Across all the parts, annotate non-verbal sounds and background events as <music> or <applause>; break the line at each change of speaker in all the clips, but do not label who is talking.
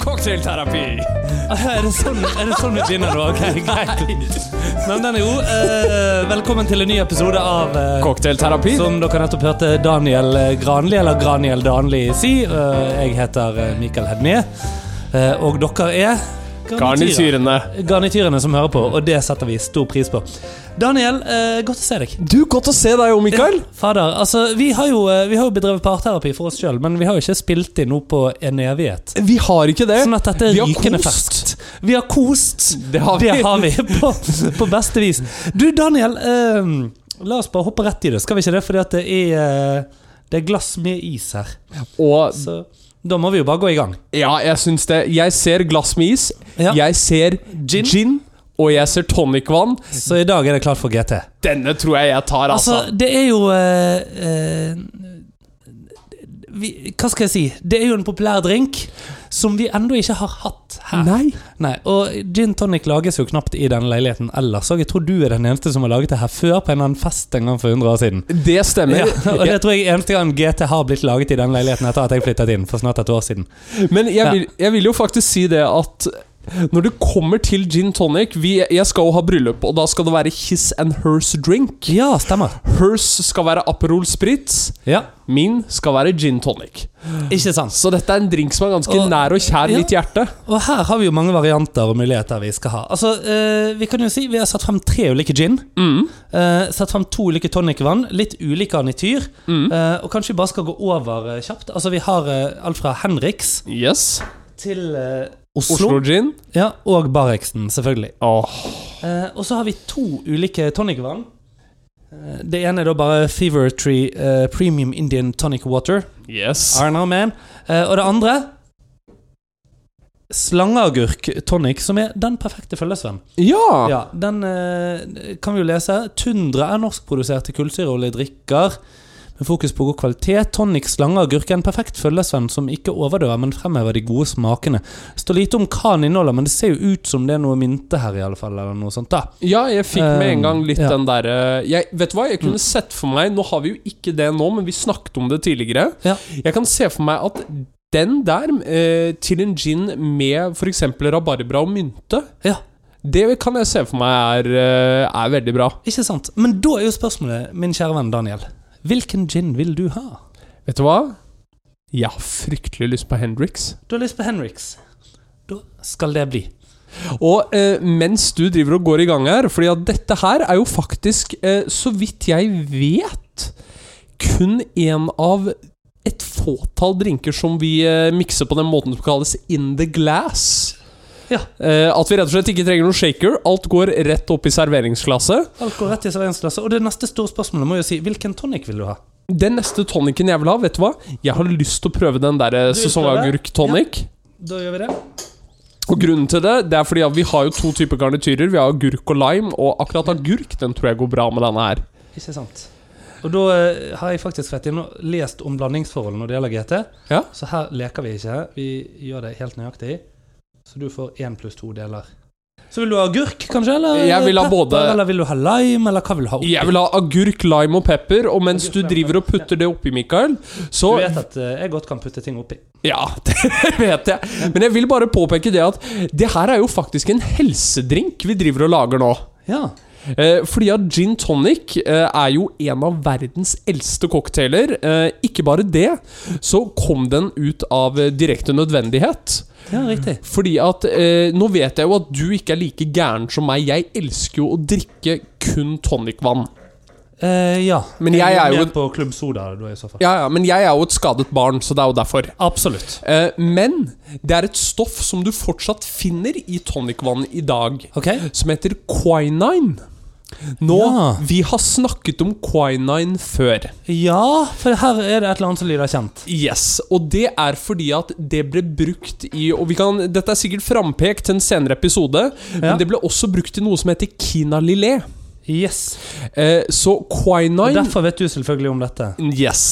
Cocktailterapi! Er det sånn, er det sånn vi begynner nå? Ok, <laughs> greit. Men den er jo eh, Velkommen til en ny episode av eh,
Cocktailterapi.
Som dere nettopp hørte Daniel eh, Granli, eller Graniel Danli, si. Eh, Jeg heter eh, Mikael Hedmie, Eh, og dere er garnityrer.
Garnityrene.
Garnityrene som hører på, og det setter vi stor pris på. Daniel, eh, godt å se deg.
Du, godt å se deg òg, Mikael.
Fader, altså Vi har jo, eh, vi har jo bedrevet parterapi for oss sjøl, men vi har jo ikke spilt inn noe på en evighet.
Vi har ikke det.
Sånn at dette er
Eh, Vi har
rykende ferskt.
kost.
Vi har kost.
Det har vi.
<laughs> på, på beste vis. Du, Daniel. eh, la oss bare hoppe rett i det. Skal vi ikke det? Fordi at det er, eh, det er glass med is her.
Og
Så da må vi jo bare gå i gang.
ja, jeg syns det. Jeg ser glass med is.
Ja.
Jeg ser
Gin.
gin. Og jeg ser tonicvann.
Så i dag er det klart for GT.
Denne tror jeg jeg tar, altså.
Altså, det er jo eh, eh, vi, Hva skal jeg si? Det er jo en populær drink som vi ennå ikke har hatt her.
Nei.
Nei, og Gin tonic lages jo knapt i denne leiligheten ellers. Og jeg tror du er den eneste som har laget det her før på en eller annen fest en gang for 100 år siden.
Det stemmer.
Ja,
<laughs>
og det tror jeg eneste gang GT har blitt laget i den leiligheten etter at jeg flyttet inn for snart et år siden.
Men jeg
Ja.
vil, jeg vil jo faktisk si det at når det kommer til gin tonic vi, Jeg skal jo ha bryllup, og da skal det være his and hers drink.
Ja, stemmer.
Hers skal være Aperol Spritz.
Ja,
Min skal være gin tonic.
ikke sant.
Så dette er en drink som er ganske
Og-
nær og kjær
ja.
mitt hjerte.
Og her har vi jo mange varianter og muligheter vi skal ha. Altså, eh, Vi kan jo si vi har satt frem tre ulike gin. Eh, satt frem to ulike tonicvann, litt ulik garnityr.
Mm.
Eh, og kanskje vi bare skal gå over eh, kjapt. Altså, Vi har eh, alt fra Henriks
Yes.
til eh, Oslo.
Oslo gin.
Ja, Og Barreksen, selvfølgelig.
Åh.
Eh, og så har vi to ulike tonicvann. Eh, Det ene er da bare Fever Tree eh, Premium Indian Tonic Water.
Yes.
Iron Man. Eh, og det andre Slangeagurk tonic, som er den perfekte følgesvenn.
Ja.
Ja, den eh, kan vi jo lese. Tundra er norskproduserte kullsyreholdige drikker med fokus på god kvalitet. Tonic slangeagurk er en perfekt følgesvenn som ikke overdøver, men fremhever de gode smakene. Står lite om hva den inneholder, men det ser jo ut som det er noe mynte her, i alle fall, eller noe sånt. da.
Ja, jeg fikk med en gang litt
Eh, ja. Mm.
den derre jeg- Vet du hva, jeg kunne sett for meg Nå har vi jo ikke det nå, men vi snakket om det tidligere.
Ja.
Jeg kan se for meg at den der, eh, til en gin med f.eks. rabarbra og mynte
Ja.
Det kan jeg se for meg er, eh, er veldig bra.
Ikke sant? Men da er jo spørsmålet, min kjære venn Daniel Hvilken gin vil du ha?
Vet du hva? Jeg har fryktelig lyst på Hendrix.
Du har lyst på Henriks. Da skal det bli.
Og eh, mens du driver og går i gang her, fordi at dette her er jo faktisk, eh, så vidt jeg vet, kun en av et fåtall drinker som vi eh, mikser på den måten som kalles in the glass.
Ja.
Eh, at vi rett og slett ikke trenger noen shaker. Alt går rett opp i serveringsglasset.
Alt går rett i serveringsglasset. Og det neste store spørsmålet må jo si hvilken tonic vil du ha?
Den neste tonicen jeg vil ha, vet du hva? Jeg har lyst til å prøve den eh, derre
Du vil
sesongagurk-tonic.
Da gjør vi det.
Og grunnen til det, det er fordi at vi har jo to typer garnityrer. Vi har agurk og lime, og akkurat agurk den tror jeg går bra med denne her.
Ikke sant. Og da eh, har jeg faktisk vært inne og lest om blandingsforhold når det gjelder GT.
Ja.
Så her leker vi ikke. Vi gjør det helt nøyaktig. Så du får én pluss to deler. Så vil du ha agurk, kanskje? Eller
Jeg vil ha
pepper,
både-
Eller vil du ha lime? Eller hva vil du ha? oppi?
Jeg vil ha agurk, lime og pepper, og mens
Agurk,
du
lime og
driver og
pepper,
putter det oppi, Mikael,
Du
så
vet at eh, jeg godt kan putte ting oppi.
Ja, <laughs> det vet jeg. Men jeg vil bare påpeke det at det her er jo faktisk en helsedrink vi driver og lager nå.
Ja.
Eh, fordi at gin tonic eh, er jo en av verdens eldste cocktailer. Eh, ikke bare det, så kom den ut av eh, direkte nødvendighet.
ja, riktig.
Fordi at eh, Nå vet jeg jo at du ikke er like gæren som meg. Jeg elsker jo å drikke kun tonicvann.
Eh, ja.
Men jeg er jo-
med på Klubb Soda da, i så fall.
Ja, ja, men jeg er jo et skadet barn, så det er jo derfor.
Absolutt.
Eh, Men det er et stoff som du fortsatt finner i tonicvann i dag,
Ok?
som heter quinine. Nå,
Ja.
Vi har snakket om quinine før.
Ja, for her er det et eller annet som lyder kjent.
Yes, Og det er fordi at det ble brukt i Og vi kan, Dette er sikkert frampekt til en senere episode,
Ja.
men det ble også brukt i noe som heter kinalilé.
Yes.
Eh, så
Og
quinine
derfor vet du selvfølgelig om dette.
Yes.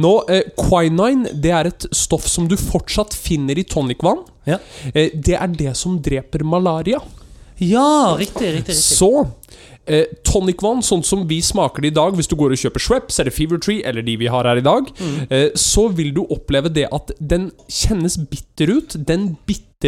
Nå, eh, Quinine det er et stoff som du fortsatt finner i tonicvann.
Ja.
Eh, det er det som dreper malaria.
Ja, riktig, riktig. riktig.
Så eh, tonicvann, sånn som vi smaker det i dag, hvis du går og kjøper Schweppes eller Fever Tree, eller de vi har her i dag,
Mm.
eh, så vil du oppleve det at den kjennes bitter ut. Den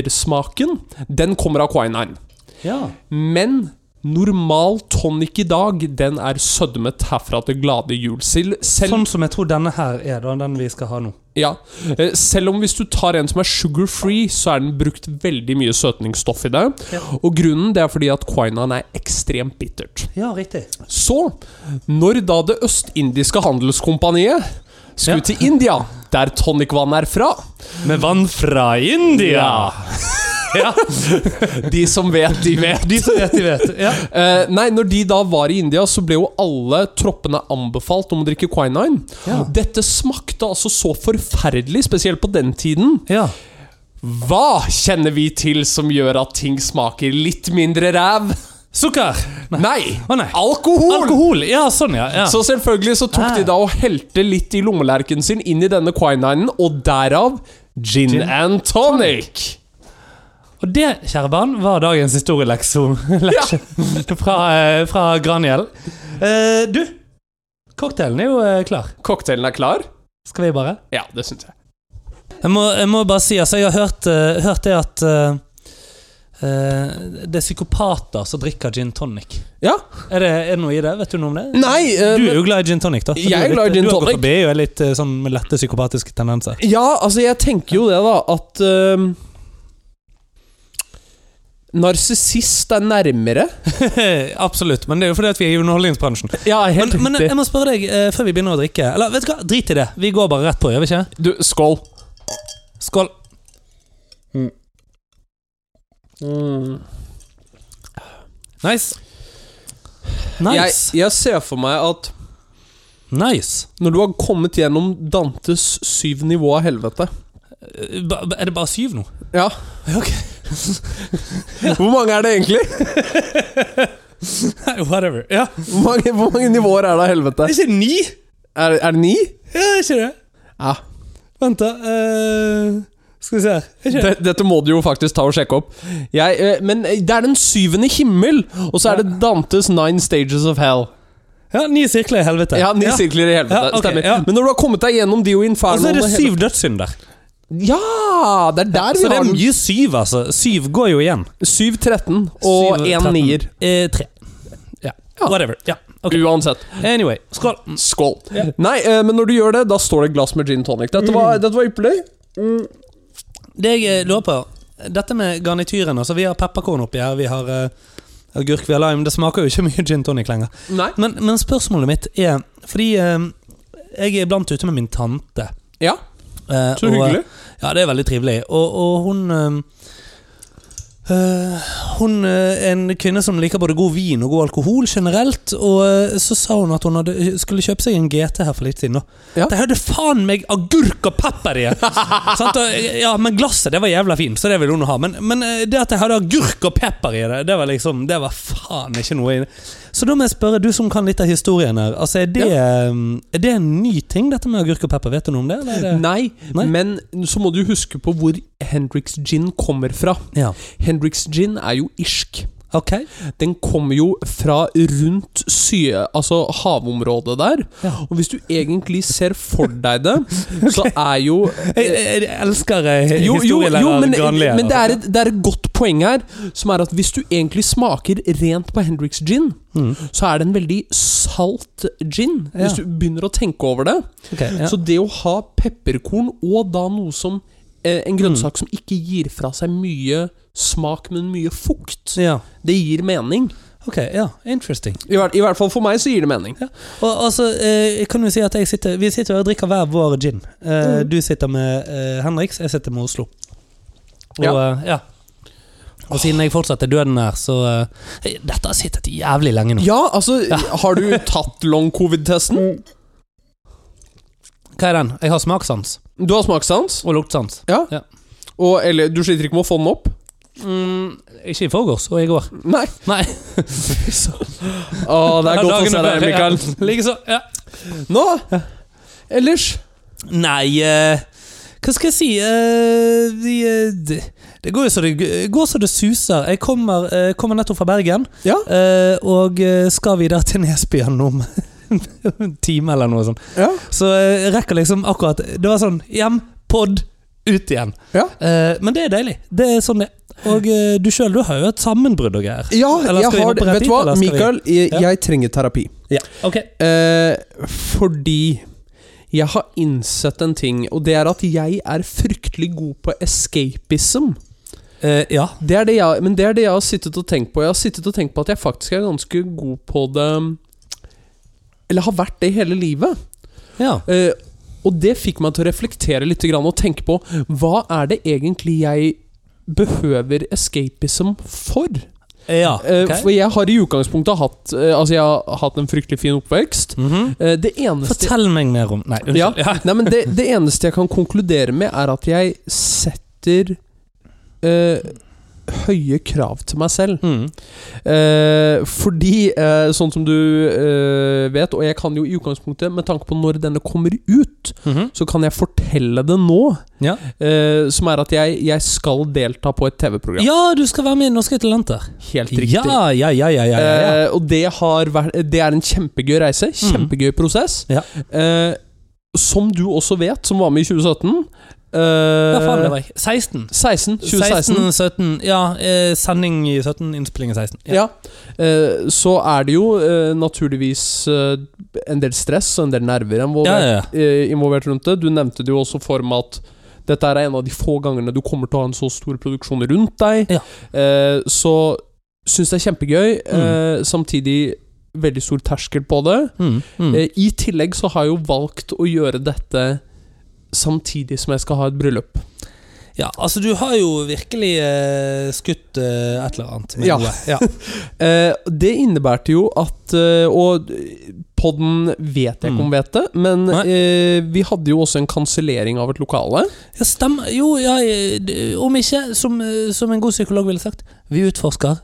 bittersmaken, den kommer av quinine.
Ja.
Men normal tonic i dag, den er sødmet herfra til glade jul. Selv, selv
Sånn som jeg tror denne her er, da, den vi skal ha nå.
Ja. Eh, Selv om hvis du tar en som er sugar free, så er den brukt veldig mye søtningsstoff i det.
Ja.
Og grunnen det er fordi at quinine er ekstremt bittert.
Ja, riktig.
Så, når da det østindiske handelskompaniet skulle
Ja.
til India, der tonicvann er fra
Med vann fra India! <laughs> Ja,
De som vet, de vet.
<laughs> De som vet, de vet. Ja.
Eh, nei, når de da var i India, så ble jo alle troppene anbefalt om å drikke quinine.
Ja.
Dette smakte altså så forferdelig, spesielt på den tiden,
ja.
Hva kjenner vi til som gjør at ting smaker litt mindre ræv?
Sukker! Nei.
<laughs> Nei!
Å, nei.
Alkohol!
Alkohol! Ja, sånn, ja. ja.
Så selvfølgelig så tok de da og helte litt i lommelerken sin inn i denne quininen, og derav gin, and tonic.
Og det, kjære barn, var dagens historieleksjon <laughs> fra, eh, fra Granhjell. Eh, du, cocktailen er jo eh, klar.
Cocktailen er klar?
Skal vi bare?
Ja, det syns jeg.
Jeg må, jeg må bare si, altså jeg har hørt, eh, hørt det at eh, eh, det er psykopater som drikker gin tonic.
Ja?
Er det, er det noe i det? Vet du noe om det?
Nei eh,
Du er
men-
jo glad i gin tonic, da. så
Jeg
du
er
litt-
glad i gin
Du har
tonic.
gått forbi og er litt eh, sånn med lette psykopatiske tendenser.
Ja, altså, jeg tenker jo det, da, at eh, Narsissist er nærmere.
<laughs> Absolutt, men det er jo fordi at vi er i underholdningsbransjen.
Ja,
Men, men jeg må spørre deg, eh, før vi begynner å drikke Eller vet du hva, drit i det. Vi går bare rett på, gjør vi ikke?
Du, skål.
Skål. Nice. Nice.
Jeg, jeg ser for meg at
nice.
når du har kommet gjennom Dantes syv nivå av helvete
Eh, ba- ba- Er det bare syv nå?
Ja.
Ok.
<laughs>
<laughs>
Hvor mange er det egentlig?
Whatever. Ja.
Hvor mange, hvor mange nivåer er det av helvete?
Er ikke det ni?
Er, er det ni?
Ja, er ikke det?
Ja.
Vent, da. eh, skal vi se her. Er ikke det?
Det, dette må du jo faktisk ta og sjekke opp. Jeg, eh, men det er den syvende himmel, og så er det Dantes nine stages of hell.
Ja, ni sirkler i helvete.
Ja, Ni sirkler i helvete.
Ja, ok,
Stemmer.
ja.
Men når du har kommet deg gjennom de og
Og
inferno
så er det syv dødssynder.
Ja! Det er der vi
Så det
har
er
den.
mye syv, altså. Syv går jo igjen.
7-13 og
Syv,
1
13.
nier.
Eh, tre. Ja.
Ja.
Whatever. Ja. ok.
Uansett.
Anyway, skål.
Skål.
Ja. Mm.
Nei, eh, men når du gjør det, da står det et glass med gin tonic. Dette var, dette var ypperlig.
Det jeg eh, lurer på Dette med garnituren. Altså, vi har pepperkorn oppi her. Vi har eh, agurk, vi har lime. Det smaker jo ikke <laughs> mye gin tonic lenger.
Nei.
Men, men spørsmålet mitt er Fordi eh, jeg er iblant ute med min tante.
Ja,
eh,
så
og,
hyggelig.
Ja, det er veldig trivelig. Og, og hun øhm, øh, Hun øh, er en kvinne som liker både god vin og god alkohol generelt. Og øh, så sa hun at hun hadde, skulle kjøpe seg en GT her for litt siden. Da.
Ja.
Det hadde faen meg agurk og pepper i!
<laughs>
Sant? Og, ja, men glasset det var jævla fint, så det ville hun ha. Men, men øh, det at jeg hadde agurk og pepper i det, det var liksom Det var faen ikke noe i det. Så da må jeg spørre, du som kan litt av historien her. Altså, er det, øhm, er det en ny ting, dette med agurk og pepper? Vet du noe om det? Eller er det?
eh, Nei,
Nei.
men så må du huske på hvor Hendrix gin kommer fra.
Ja.
Hendrix gin er jo irsk.
Ok.
Den kommer jo fra rundt sy... Altså havområdet der.
Ja.
Og hvis du egentlig ser for deg det, så er jo
Jeg, jeg, jeg elsker
jo, jo,
historielærer
jo, men,
Granlia.
men det, er et, det er et godt poeng her, som er at hvis du egentlig smaker rent på Hendrix gin,
Mm.
så er det en veldig salt gin, hvis
Ja.
du begynner å tenke over det.
Ok, ja.
Så det å ha pepperkorn og da noe som eh, En
Mm.
grønnsak som ikke gir fra seg mye smak, men mye fukt,
ja.
det gir mening.
Ok, ja. Interesting.
I hvert, I hvert fall for meg så gir det mening.
Og altså, eh, jeg kan jo si at jeg sitter, Vi sitter og drikker hver vår gin. Eh, Du sitter med eh, Henriks, jeg sitter med Oslo. Og,
Ja.
eh, ja. og siden jeg fortsatt er døden nær, så eh, Dette har sittet jævlig lenge nå.
Ja, Mm. altså,
<laughs>
har du tatt long covid-testen?
Hva er den? Jeg har smakssans
Du har smakssans,
og luktsans.
og eller du sliter ikke med å få den opp?
Mm, ikke i forgårs og i går.
Nei. <laughs>
Nei.
Å,
<laughs>
det er godt å se deg, Mikael.
Likeså. Ja.
Nå, ellers
Nei eh, Hva Hva skal jeg si Eh, vi, eh, det, det går jo så det går så det suser. Jeg kommer, eh, kommer nettopp fra Bergen,
Ja.
eh, og eh, skal videre til Nesbyen om en <laughs> time eller noe sånt.
Ja.
Så eh, jeg rekker liksom akkurat Det var sånn hjem, pod, ut igjen.
Ja.
Eh, men det er deilig. Det er sånn det Og eh, du sjøl, du har jo et sammenbrudd og greier.
Ja,
Eller skal vi
jeg har
hoppe
det.
rett
Vet du
dit,
hva,
eller skal vi-
Mikael, jeg,
Ja.
jeg trenger terapi.
Ja. Ok.
Eh, fordi jeg har innsett en ting, og det er at jeg er fryktelig god på escapism.
Eh, ja.
Det er det jeg, men det er det jeg har sittet og tenkt på. Jeg har sittet og tenkt på at jeg faktisk er ganske god på det Eller har vært det hele livet.
ja.
Eh, og det fikk meg til å reflektere litt grann, og tenke på hva er det egentlig jeg behøver escapism for?
Ja.
Eh,
ok.
For jeg har i utgangspunktet hatt eh, Altså jeg har hatt en fryktelig fin oppvekst.
Mhm.
Eh, det eneste
Fortell meg mer om Nei, unnskyld.
ja. Nei, men det, det eneste jeg kan konkludere med, er at jeg setter eh, høye krav til meg selv.
Mm.
Eh, fordi, eh, sånn som du eh, vet, og jeg kan jo i utgangspunktet, med tanke på når denne kommer ut,
Mhm.
så kan jeg fortelle det nå,
ja.
eh, som er at jeg, jeg skal delta på et TV-program.
Ja, du skal være med i Norske Talenter.
Helt riktig.
Ja, ja, ja, ja, ja, ja, ja. Mm.
Eh, og det, har vært, det er en kjempegøy reise. Kjempegøy prosess.
Ja.
Eh, som du også vet, som var med i 2017 eh,
Ja, faen, det var jeg. 16.
16, 2016.
16, 17 Ja, eh, sending i 17, innspilling i 16. Ja.
Ja. Eh, så er det jo eh, naturligvis eh, en del stress og en del nerver
Ja,
involvert,
ja, ja.
eh, involvert rundt det. Du nevnte det jo også for meg at dette er en av de få gangene du kommer til å ha en så stor produksjon rundt deg. Eh, så syns det er kjempegøy. Eh, samtidig veldig stor terskel på det.
Mm, mm.
Eh, I tillegg så har jeg jo valgt å gjøre dette samtidig som jeg skal ha et bryllup.
ja altså, du har jo virkelig eh, skutt eh, et eller annet. med
Ja.
noe. ja.
Eh, Det innebærte jo at eh, Og podden vet jeg ikke om vet det, men
Mm. Nei.
eh, vi hadde jo også en kansellering av et lokale.
Ja, stemmer. Jo, ja, eh, d- om ikke, som, eh, som en god psykolog ville sagt, vi utforsker.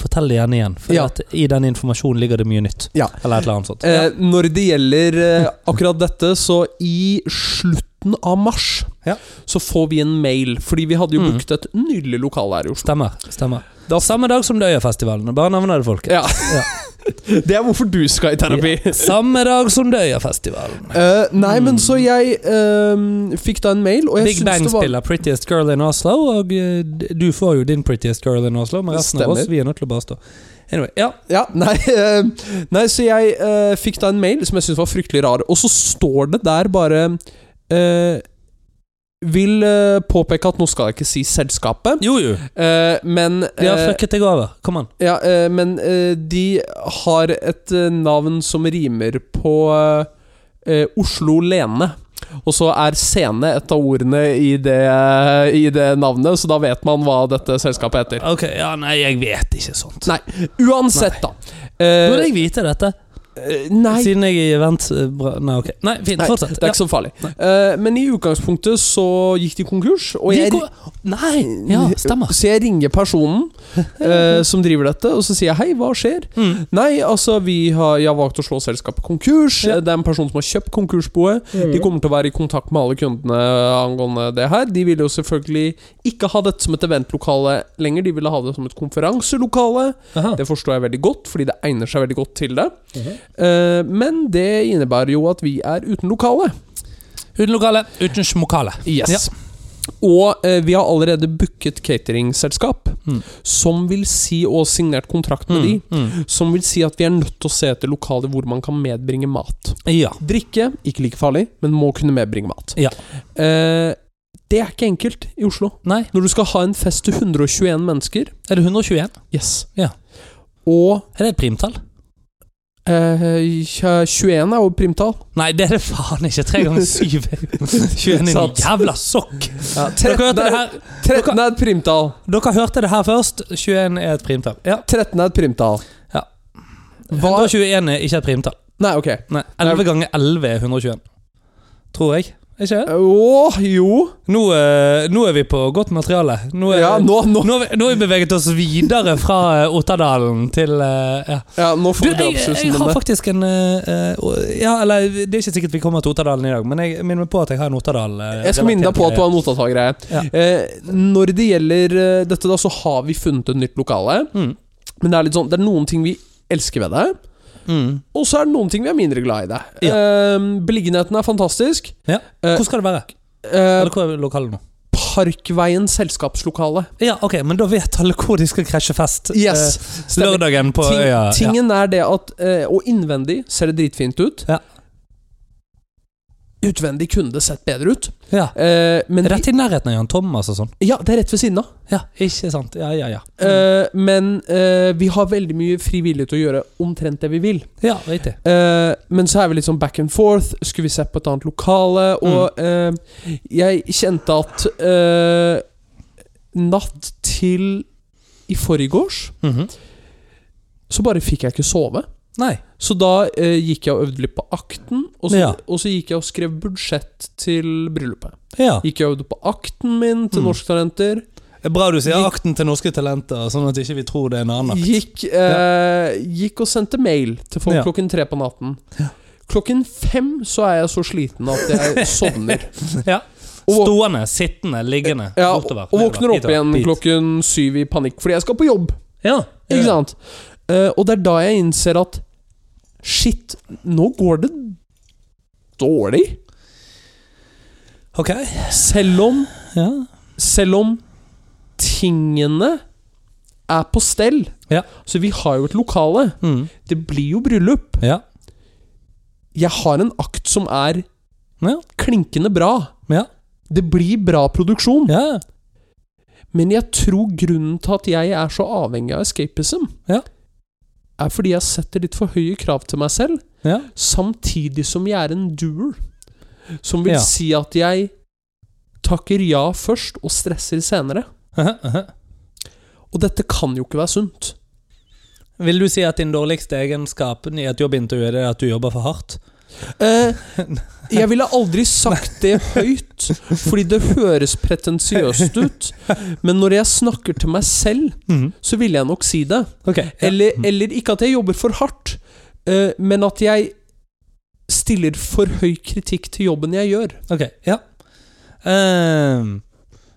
Fortell det gjerne igjen, for
Ja.
at i den informasjonen ligger det mye nytt.
Ja.
Eller et eller annet sånt.
Eh, Når det gjelder eh, akkurat dette, så i slutten av mars
Ja.
så får vi en mail, fordi vi hadde jo
Mm.
booket et nydelig lokale her i Oslo.
Stemmer. stemmer.
Da-
Samme dag som Døyafestivalen. Bare nevner det, folket.
Ja. <laughs> Det er hvorfor du skal i terapi.
Samme dag som Døyafestivalen.
Eh, nei, men så jeg eh, fikk da en mail, og jeg
Big Bang
syns det var
spiller 'Prettiest Girl in Oslo', og eh, d- du får jo din 'Prettiest Girl in Oslo', men resten av
Stemmer.
oss vi er nødt til å bare stå. Anyway, ja.
Ja, nei, eh, nei, så jeg eh, fikk da en mail som jeg syntes var fryktelig rar, og så står det der bare eh, Vil eh, påpeke at nå skal jeg ikke si selskapet,
Jo, jo.
eh, men
De har
eh,
fucket deg over. Kom an.
ja, eh, men eh, de har et eh, navn som rimer på eh, eh, Oslo Lene. Og så er Sene et av ordene i det, i det navnet, så da vet man hva dette selskapet heter.
Ok, ja, nei, jeg vet ikke sånt.
Nei, uansett, da. Eh,
Burde jeg vite dette?
eh, nei,
Siden jeg er i event eh, bra. Nei, ok. Nei, fint.
Nei,
Fortsett.
Det er ikke så farlig. Eh, men i utgangspunktet så gikk de konkurs, og
De
jeg,
går- Nei! Ja, stemmer.
så jeg ringer personen
<laughs>
eh, som driver dette, og så sier jeg hei, hva skjer?
Mm.
Nei, altså, vi har, jeg har valgt å slå selskapet konkurs.
Ja. Mm.
Det er en person som har kjøpt konkursboet. De kommer til å være i kontakt med alle kundene angående det her. De ville jo selvfølgelig ikke ha dette som et eventlokale lenger, de ville ha det som et konferanselokale.
Aha.
Det forstår jeg veldig godt, fordi det egner seg veldig godt til det.
Mhm.
Eh, men det innebærer jo at vi er uten lokale.
Uten lokale, uten smokale.
Yes. Og eh, vi har allerede booket cateringselskap,
Mm.
som vil si, og signert kontrakt med
Mm, mm.
de, som vil si at vi er nødt til å se etter lokaler hvor man kan medbringe mat.
Ja.
Drikke, ikke like farlig, men må kunne medbringe mat.
Ja.
Eh, det er ikke enkelt i Oslo.
Nei,
Når du skal ha en fest til 121 mennesker
er det 121?
Yes.
Ja.
Og
Er det et primtall?
eh, tja, 21 er jo <laughs> primtall.
Nei, det er det faen ikke. Tre ganger
<laughs>
syv. 21 er en
Sant.
jævla sokk! Dere
13
hørte det
er,
her
13 er et primtall.
Dere hørte det her først. 21 er et primtall. Ja.
13 er et primtall.
Ja.
Hva
121 er ikke et primtall.
Nei, ok.
Nei, 11 ganger 11 er 121. Tror jeg. Ikke?
Åh, jo.
Nå, eh, nå er vi på godt materiale. Nå er,
Ja, nå, nå,
Nå, har vi- nå har vi beveget oss videre fra eh, Otterdalen til eh, ja.
ja, nå
Du,
får vi
jeg, jeg
drapshusen
har
denne.
faktisk en eh, eh, ja, Eller det er ikke sikkert vi kommer til Otterdalen i dag, men jeg minner meg på at jeg har en Otterdal. eh,
Jeg skal minne deg på at du har en notatakergreie.
Ja.
Eh, når det gjelder eh, dette, da, så har vi funnet et nytt lokale.
Mm.
Men det er litt sånn, det er noen ting vi elsker ved det,
mm.
og så er det noen ting vi er mindre glad i det.
Ja.
Eh, beliggenheten er fantastisk.
Ja.
Eh,
Hvor skal det være?
eh,
Eller hvor er lokalet nå?
Parkveien selskapslokale.
Ja, ok, Men da vet alle hvor de skal krasje fest.
Yes,
eh,
stemmer.
lørdagen på
Ting,
øya. Ja.
tingen er det at eh, Og innvendig ser det dritfint ut.
Ja.
Utvendig kunne det sett bedre ut.
Ja.
Eh, men de,
Rett i nærheten av Jan Thomas og sånn.
ja, det er rett ved siden av.
Ja, ikke sant? Ja, ja, Mm. ja.
Eh, men eh, vi har veldig mye fri vilje til å gjøre omtrent det vi vil.
ja, riktig.
Eh, men så er vi litt sånn back and forth. Skulle vi sett på et annet lokale? Og
Mm.
eh, jeg kjente at eh, Natt til i forgårs
Mhm.
så bare fikk jeg ikke sove.
Nei.
Så da eh, gikk jeg og øvde litt på akten, og så,
Ja.
og så gikk jeg og skrev budsjett til bryllupet.
Ja.
Gikk jeg og øvde på akten min til
Mm.
Norske Talenter.
Bra du sier
Gikk-
akten til norske talenter, sånn at ikke vi tror det er en annen. akt.
Gikk, eh, gikk og sendte mail til folk
Ja.
klokken tre på natten.
Ja.
Klokken fem så er jeg så sliten at
<laughs>
jeg sovner.
Ja.
Og, våk-
Stående, sittende, liggende.
ja, og,
bortover,
og
nedover,
våkner opp
hitover,
igjen
dit.
klokken syv i panikk fordi jeg skal på jobb.
Ja.
Ikke sant? Eh, og det er da jeg innser at Shit, nå går det dårlig.
Ok.
Selv om
Ja.
Selv om tingene er på stell
Ja.
Så vi har jo et lokale.
Mm.
Det blir jo bryllup.
Ja.
Jeg har en akt som er
Ja.
klinkende bra.
Ja.
Det blir bra produksjon.
ja.
Men jeg tror grunnen til at jeg er så avhengig av escapism,
Ja.
er fordi jeg setter litt for høye krav til meg selv,
ja.
samtidig som jeg er en doer. Som vil
Ja.
si at jeg takker ja først og stresser senere.
Aha, aha.
Og dette kan jo ikke være sunt.
Vil du si at din dårligste egenskap i et jobbintervju er det at du jobber for hardt? <laughs>
Eh, jeg ville aldri sagt det høyt, fordi det høres pretensiøst ut.
<laughs>
Men når jeg snakker til meg selv,
Mhm.
så ville jeg nok si det.
Ok. Ja.
Eller, eller ikke at jeg jobber for hardt, eh, men at jeg stiller for høy kritikk til jobben jeg gjør.
Ok, ja. Ehm,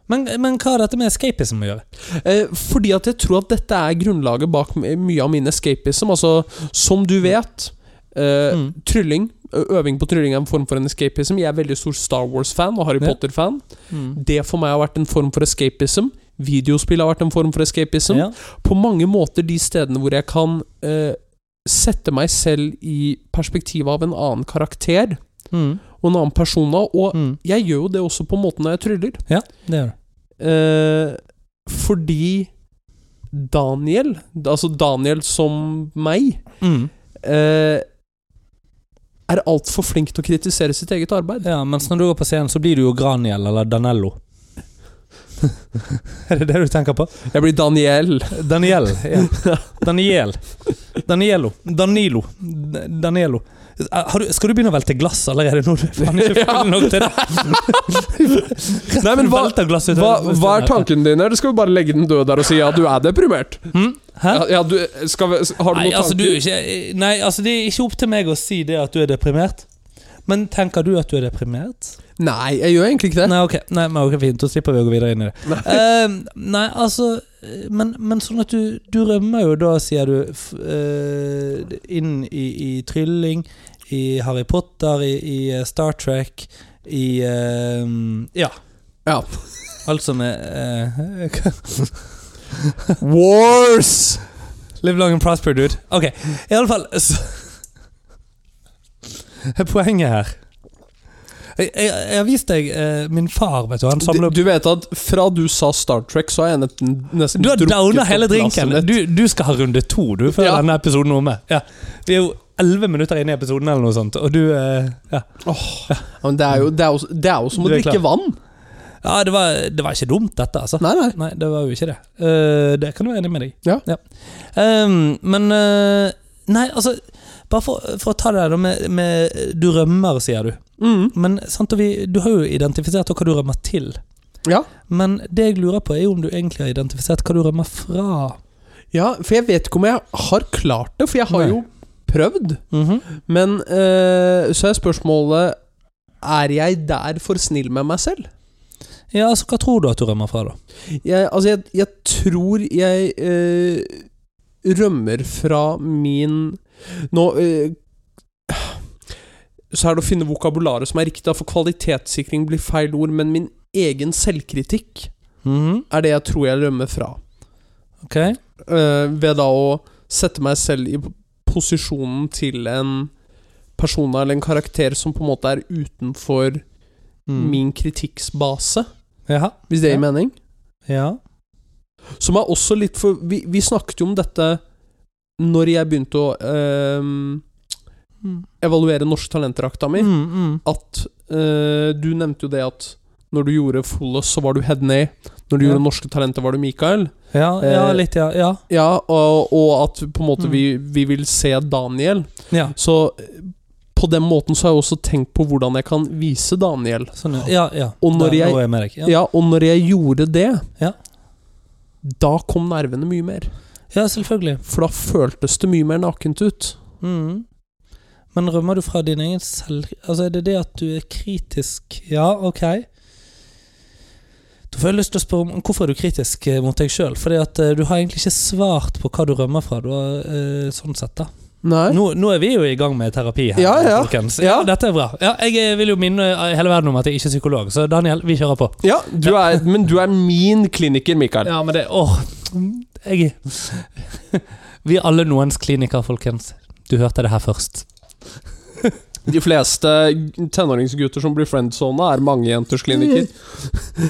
men, men hva har dette med escapism å gjøre?
Eh, fordi at jeg tror at dette er grunnlaget bak m- mye av min escapism. Altså, som du vet eh,
Mm.
Trylling, ø- øving på trylling er en form for en escapism. Jeg er veldig stor Star Wars-fan og Harry
Ja.
Potter-fan. Det for meg har vært en form for escapism. Videospill har vært en form for escapism.
Ja.
På mange måter de stedene hvor jeg kan eh, sette meg selv i perspektivet av en annen karakter
Mm.
og en annen persona. Og
Mm.
jeg gjør jo det også på måten når jeg tryller.
Det gjør
Eh,
det.
fordi Daniel, altså Daniel som meg,
Mm.
eh, er altfor flink til å kritisere sitt eget arbeid.
Ja, mens når du går på scenen, så blir du jo Graniel
<laughs>
eller Danello. er det det du tenker på?
Jeg blir
<laughs>
Daniel.
Daniel.
<laughs>
Ja. Daniel. Danielo. Danilo. D- Danielo. Har du, skal du begynne å velte glass allerede
<laughs>
nå? Du er faen ikke full nok til det.
Nei, men hva,
Velter glass ut
hva,
av-
hva er tankene dine? Eller skal vi bare legge den død der og si ja, du er deprimert?
Hm? Hæ?
Ja, ja, du, skal vi, har du
Nei,
noen
altså, du er
tanker?
ikke, nei, altså det er ikke opp til meg å si det at du er deprimert. Men tenker du at du er deprimert?
Nei, jeg gjør egentlig ikke det.
Nei, ok, nei, men ok fint. Da slipper vi å gå videre inn i det. <laughs>
Nei.
Eh, nei, altså eh, men, men sånn at du, du rømmer jo da, sier du, f, eh, inn i, i trylling, i Harry Potter, i, i eh, Star Trek, i eh, Ja.
Ja.
Alt som er eh, <laughs>
Wars!
Live long and prosper, dude. Ok, i alle fall så <laughs> Poenget her Jeg, jeg, jeg har vist deg eh, min far, vet du. Han
Du,
samler opp
du vet at fra du sa Star Trek, så har jeg nesten, nesten
Du har
drukket
downa
opp
hele
glasset
drinken.
mitt.
Du, du skal ha runde to du før
Ja.
denne episoden er omme. Ja. Vi er jo elleve minutter inn i episoden, eller noe sånt, og du eh, ja.
Ja, men det er jo, det er jo, det er jo som å
Du er
drikke vann.
ja, det var, det var ikke dumt, dette, altså.
Nei, nei.
Nei, det var jo ikke det. Eh, det kan du være enig med deg i.
Ja.
Ehm, men eh, Nei, altså Bare for, for å ta det der da med, med Du rømmer, sier du.
Mm.
Men sant, og vi, du har jo identifisert hva du rømmer til.
Ja.
Men det jeg lurer på, er jo om du egentlig har identifisert hva du rømmer fra.
ja, for jeg vet ikke om jeg har klart det, for jeg har
Nei.
jo prøvd.
Mhm.
Men eh, så er spørsmålet Er jeg der for snill med meg selv?
Ja, altså, hva tror du at du rømmer fra, da?
Jeg, altså, jeg, jeg tror jeg eh, rømmer fra min Nå eh, Så er det å finne vokabularet som er riktig, da, for kvalitetssikring blir feil ord, men min egen selvkritikk
Mhm.
er det jeg tror jeg rømmer fra.
Ok.
Eh, ved da å sette meg selv i posisjonen til en person eller en karakter som på en måte er utenfor
Mm.
min kritikksbase,
Ja.
hvis det gir
Ja.
mening.
ja.
Som er også litt for Vi, vi snakket jo om dette når jeg begynte å ehm,
Mm.
evaluere norske talenterakta mi.
Mm, mm.
At eh, du nevnte jo det at når du gjorde Fullest, så var du Hedney. Når du
Ja.
gjorde Norske Talenter, var du Mikael.
ja. Ja,
Eh,
litt, ja. Ja.
Ja, og, og at på en måte
Mm.
vi, vi vil se Daniel.
ja.
Så eh, på den måten så har jeg også tenkt på hvordan jeg kan vise Daniel.
Sånn, ja. ja, ja.
Ah. Og når
Da-
jeg-
Nå er jeg med deg.
Ja, og når jeg gjorde det,
Ja.
da kom nervene mye mer.
Ja, selvfølgelig.
For da føltes det mye mer nakent ut.
Mhm. Men rømmer du fra din egen selv... Altså, er det det at du er kritisk? Ja, ok. Da får jeg lyst til å spørre om hvorfor er du kritisk eh, mot deg sjøl? Fordi at eh, du har egentlig ikke svart på hva du rømmer fra. Du har, eh, sånn sett da
Nei.
nå, nå er vi jo i gang med terapi her,
Ja, ja.
folkens.
Ja.
Dette er bra. Ja, jeg eh, vil jo minne eh, hele verden om at jeg ikke er psykolog, så Daniel, vi kjører på.
Ja, du er, men du er min kliniker, Mikael.
Ja, men det Åh! Jeg <laughs> Vi er alle noens kliniker, folkens. Du hørte det her først.
De fleste tenåringsgutter som blir friendzona, er mange jenters kliniker.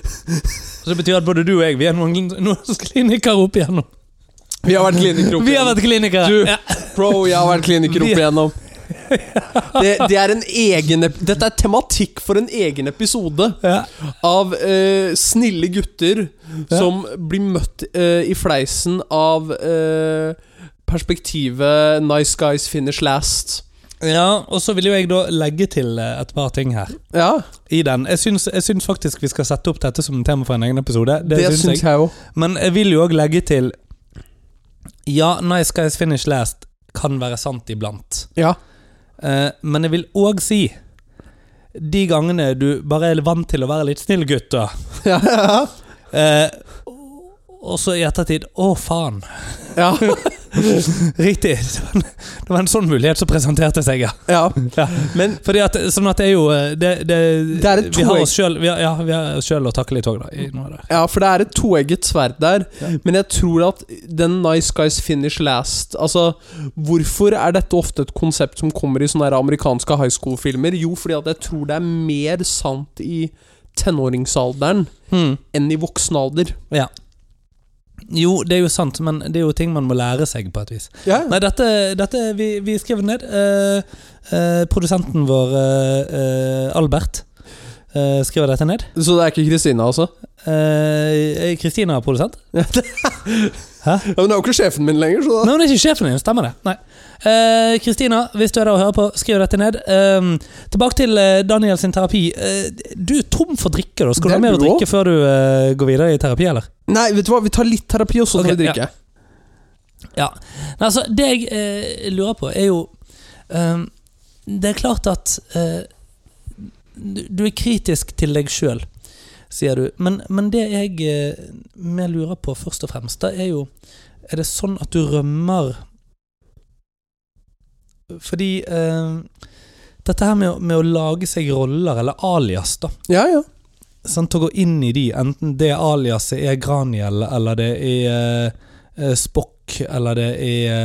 Så det betyr at både du og jeg Vi er noen, noen <laughs> kliniker opp igjennom.
Vi har vært klinikere opp
Vi har
igjennom.
vært klinikere!
Du-
Ja.
Bro, jeg har vært kliniker
Vi-
opp
<laughs>
igjennom. Det, det er en egen ep- Dette er tematikk for en egen episode
Ja.
av eh, snille gutter
Ja.
som blir møtt eh, i fleisen av eh, perspektivet 'nice guys finish last'.
ja, og så vil jo jeg da legge til eh, et par ting her.
Ja,
I den. Jeg syns, jeg syns faktisk vi skal sette opp dette som tema for en egen episode.
det, syns jeg òg.
Men jeg vil jo òg legge til Ja, Nice Guys Finish Last kan være sant iblant.
Ja.
Eh, men jeg vil òg si de gangene du bare er vant til å være litt snill gutt, da.
Ja, <laughs> ja,
Eh, og så i ettertid Å, faen.
ja.
Riktig. <laughs> Det var en- det var en sånn mulighet som presenterte seg, ja.
ja.
ja.
Men
Fordi at, sånn at det er jo eh, Det, det,
Det er et
vi har
toeg-
oss sjøl ja, vi har oss selv å takle litt òg, da. I noe der.
Ja, for det er et toegget sverd der.
Ja.
Men jeg tror at den nice guys finish last Altså, Hvorfor er dette ofte et konsept som kommer i sånne her amerikanske high school-filmer? Jo, fordi at jeg tror det er mer sant i tenåringsalderen
Hmm.
enn i voksen alder.
Jo, det er jo sant, men det er jo ting man må lære seg, på et vis. Nei, dette, dette vi, vi skrev det ned. Eh, eh, produsenten vår, eh, eh, Albert, eh, skriver dette ned.
Så det er ikke Kristina, altså?
Eh, Kristina er produsent.
Ja, Hun er jo ikke sjefen min lenger, så da
Nei, hun er ikke sjefen din, stemmer det? Nei. Eh, Kristina, hvis du er der og hører på, skriv dette ned. Eh, tilbake til eh, Daniel sin terapi. Eh, du er tom for drikke, da. Skal du
Det
ha
er
mer å
du
drikke før du eh, går videre i terapi, eller?
Nei, vet du hva, vi tar litt terapi, og så tar
Ok,
vi drikke.
Ja. Nei, altså, det jeg eh, lurer på, er jo eh, Det er klart at eh, du, du er kritisk til deg sjøl, sier du. Men, men det jeg eh, mer lurer på først og fremst, da er jo Er det sånn at du rømmer Fordi eh, dette her med, å- med å lage seg roller, eller alias, da
Ja, ja.
sant, å gå inn i de, enten det aliaset er Graniel, eller det er eh, Spock, eller det er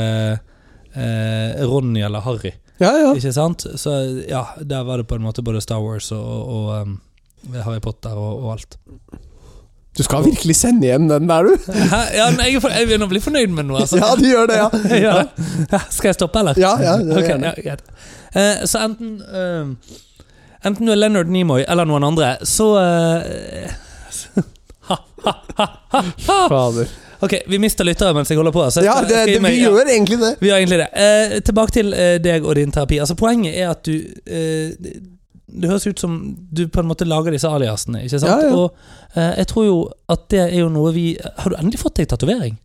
eh, Ronny eller Harry.
Ja, ja.
Ikke sant? Så ja, der var det på en måte både Star Wars og, og em, Harry Potter og, og alt.
Du skal virkelig sende hjem den der, du.
Hæ? Ja, men jeg, er for, jeg begynner å bli fornøyd med noe, altså.
Ja, du gjør det, ja.
<laughs> Ja. Skal jeg stoppe, eller?
Ja, ja, det er
Ok,
gjerne.
ja, greit. Eh, så enten eh, Enten du er Leonard Nimoy eller noen andre, så eh,
Fader.
Ok, vi mister lyttere mens jeg holder på. Så jeg
Ja,
skal-
det,
skal gi
det,
meg-
vi
ja,
gjør egentlig det.
vi gjør egentlig det. Eh, tilbake til eh, deg og din terapi. Altså Poenget er at du eh, Det høres ut som du på en måte lager disse aliasene, ikke sant?
Ja, ja.
Og eh, jeg tror jo at det er jo noe vi Har du endelig fått deg tatovering?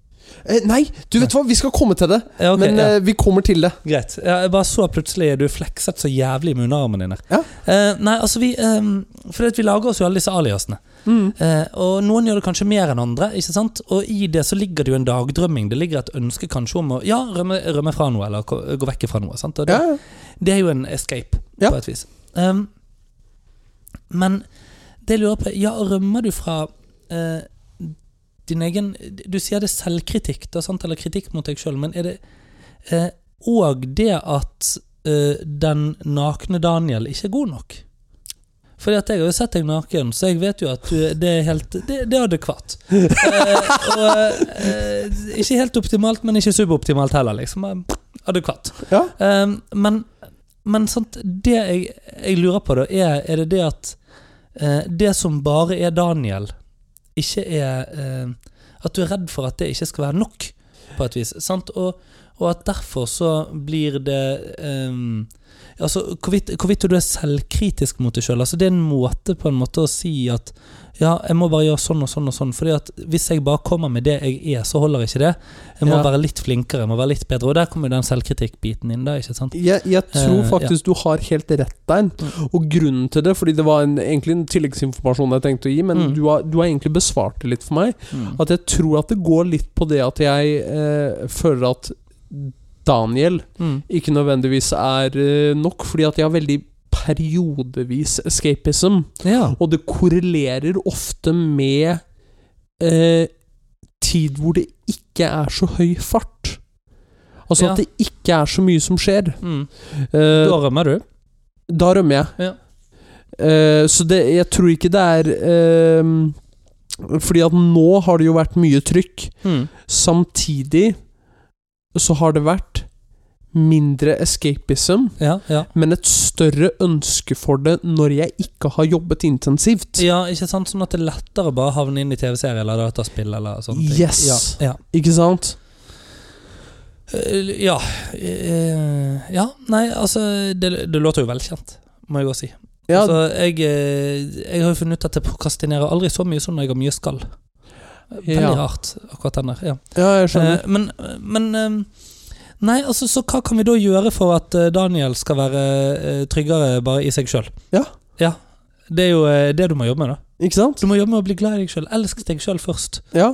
Eh, nei, du vet hva, vi skal komme til det.
Ja, ok,
men
ja.
eh, vi kommer til det.
Greit. Ja, jeg bare så plutselig du flekset så jævlig med underarmen din her.
Ja.
Eh, nei, altså vi eh, For vi lager oss jo alle disse aliasene.
Mm.
Eh, og noen gjør det kanskje mer enn andre, ikke sant? Og i det så ligger det jo en dagdrømming. Det ligger et ønske kanskje om å ja, rømme, rømme fra noe, eller ko- gå vekk fra noe. sant? Og det,
Ja, ja.
det er jo en escape,
Ja.
på et vis. Um, men det jeg lurer på er, Ja, rømmer du fra eh, din egen Du sier det er selvkritikk, da, sant? eller kritikk mot deg sjøl, men er det eh, Og det at eh, den nakne Daniel ikke er god nok? Fordi at Jeg har jo sett deg naken, så jeg vet jo at du, det er helt Det, det er adekvat. Eh, og, eh, ikke helt optimalt, men ikke suboptimalt heller. liksom Eh, Adekvat.
Ja.
Um, men men sant, det jeg, jeg lurer på, da, er, er det det at eh, det som bare er Daniel, ikke er eh, At du er redd for at det ikke skal være nok, på et vis. Sant? Og, og at derfor så blir det ehm, Altså, hvorvidt, hvorvidt du er selvkritisk mot deg sjøl. Altså, det er en måte på en måte å si at ja, jeg må bare gjøre sånn og sånn og sånn. Fordi at hvis jeg bare kommer med det jeg er, så holder ikke det. Jeg må
Ja.
være litt flinkere, jeg må være litt bedre. Og der kommer jo den selvkritikkbiten inn, da. ikke sant?
Jeg, jeg tror
Eh,
faktisk du har helt rett der. Og grunnen til det, fordi det var en, egentlig en tilleggsinformasjon jeg tenkte å gi, men
Mm.
du, har, du har egentlig besvart det litt for meg.
Mm.
At jeg tror at det går litt på det at jeg eh, føler at Daniel
Mm.
ikke nødvendigvis er eh, nok, fordi at jeg har veldig periodevis escapism.
Ja.
Og det korrelerer ofte med eh, tid hvor det ikke er så høy fart. Altså
Ja.
at det ikke er så mye som skjer.
Mm.
Eh,
Da rømmer du.
da rømmer jeg.
Ja.
Eh, så det, jeg tror ikke det er eh, Fordi at nå har det jo vært mye trykk.
Mm.
Samtidig så har det vært mindre escapism,
Ja, ja.
men et større ønske for det når jeg ikke har jobbet intensivt.
ja, ikke sant? Sånn at det er lettere å bare havne inn i TV-serie eller dataspill eller sånne ting.
Yes.
Ja, ja.
Ikke sant?
Eh, Ja. eh, Ja, nei, altså Det, det låter jo velkjent, må jeg også si.
Ja,
Altså, jeg, eh, jeg har jo funnet ut at jeg prokrastinerer aldri så mye som når jeg har mye skall. Veldig
Ja.
rart, akkurat den der. Ja.
ja jeg skjønner.
Eh, Men, men eh, Nei, altså, så hva kan vi da gjøre for at eh, Daniel skal være eh, tryggere bare i seg sjøl?
Ja.
ja. Det er jo eh, det du må jobbe med, da.
ikke sant?
Du må jobbe med å bli glad i deg sjøl. Elsk deg sjøl først.
Ja.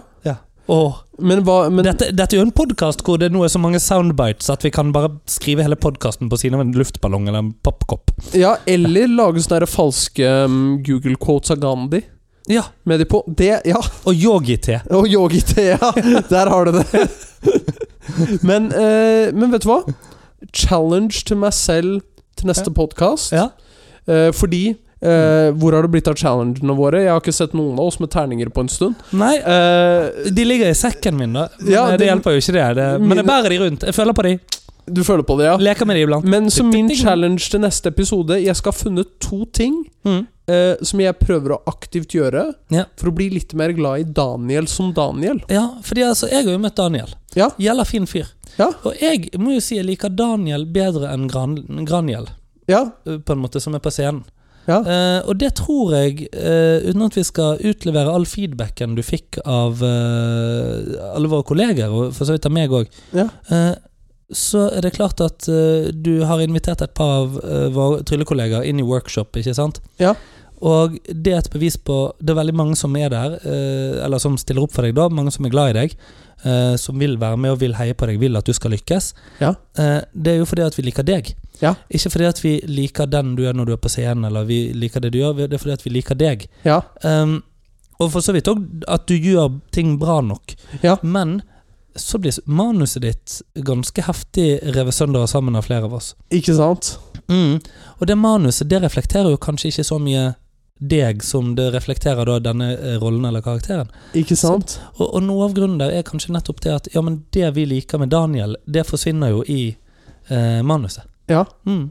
Åh,
Men hva men,
dette, dette er jo en podkast hvor det nå er så mange soundbites at vi kan bare skrive hele podkasten på siden av en luftballong eller en pappkopp.
Ja, eller lage sånne der falske mm, Google quotes av Gandhi
Ja,
med de på. Det, ja.
Og yogi-te.
Og yogi-Thea. Der har du det. <laughs> men, eh, men vet du hva? Challenge til meg selv til neste
Ja.
podkast.
Ja.
Eh, fordi eh, Hvor har det blitt av challengene våre? Jeg har ikke sett noen av oss med terninger på en stund.
Nei,
Eh,
de ligger i sekken min, da. Men
Ja,
eh, det,
det-
hjelper jo ikke, det. det men
Mine-
jeg bærer de rundt. Jeg føler på de.
du føler på det, ja? Mm.
Leker med de iblant.
Men så min challenge til neste episode Jeg skal ha funnet to ting
Mm.
eh, som jeg prøver å aktivt gjøre
Ja.
for å bli litt mer glad i Daniel som Daniel.
Ja, fordi altså, jeg har jo møtt Daniel.
Ja.
Gjelder fin fyr.
Ja.
Og jeg må jo si jeg liker Daniel bedre enn Gran Granjel,
Ja,
eh, på en måte, som er på scenen.
ja.
Eh, og det tror jeg, eh, uten at vi skal utlevere all feedbacken du fikk av eh, alle våre kolleger, og for så vidt av meg òg,
Ja.
så er det klart at eh, du har invitert et par av eh, våre tryllekolleger inn i workshop, ikke sant?
Ja.
Og det er et bevis på Det er veldig mange som er der, eh, eller som stiller opp for deg, da. Mange som er glad i deg. eh, som vil være med og vil heie på deg, vil at du skal lykkes.
Ja.
Eh, det er jo fordi at vi liker deg.
Ja.
Ikke fordi at vi liker den du er når du er på scenen, eller vi liker det du gjør, det er fordi at vi liker deg.
ja.
Ehm, og for så vidt òg at du gjør ting bra nok.
Ja.
Men så blir manuset ditt ganske heftig revet sønder og sammen av flere av oss.
Ikke sant?
Mm. Og det manuset det reflekterer jo kanskje ikke så mye deg som det reflekterer da denne eh, rollen eller karakteren.
Ikke sant?
Og, og noe av grunnen der er kanskje nettopp det at ja, men det vi liker med Daniel, det forsvinner jo i eh, manuset.
Ja.
Mm.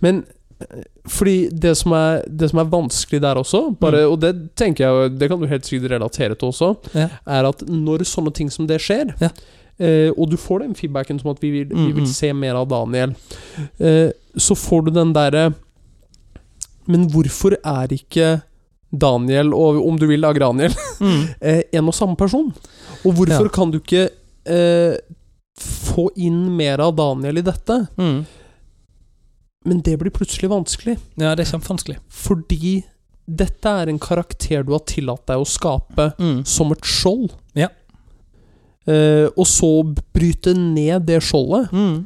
Men eh, fordi det som er, det som er vanskelig der også, bare, og det tenker jeg jo- Det kan du helt sikkert relatere til også,
Mm. Ja.
er at når sånne ting som det skjer
Ja.
eh, Og du får den feedbacken som at vi vil, vi
Mm, mm.
vil se mer av Daniel, eh, så får du den derre Men hvorfor er ikke Daniel og om du vil Agraniel
Mm.
<laughs> eh, en og samme person? Og hvorfor
Ja.
kan du ikke eh, få inn mer av Daniel i dette?
Mm.
Men det blir plutselig vanskelig.
Ja, det er kjempevanskelig.
Fordi dette er en karakter du har tillatt deg å skape
Mm.
som et skjold.
Ja.
Eh, og så bryte ned det skjoldet.
Mm.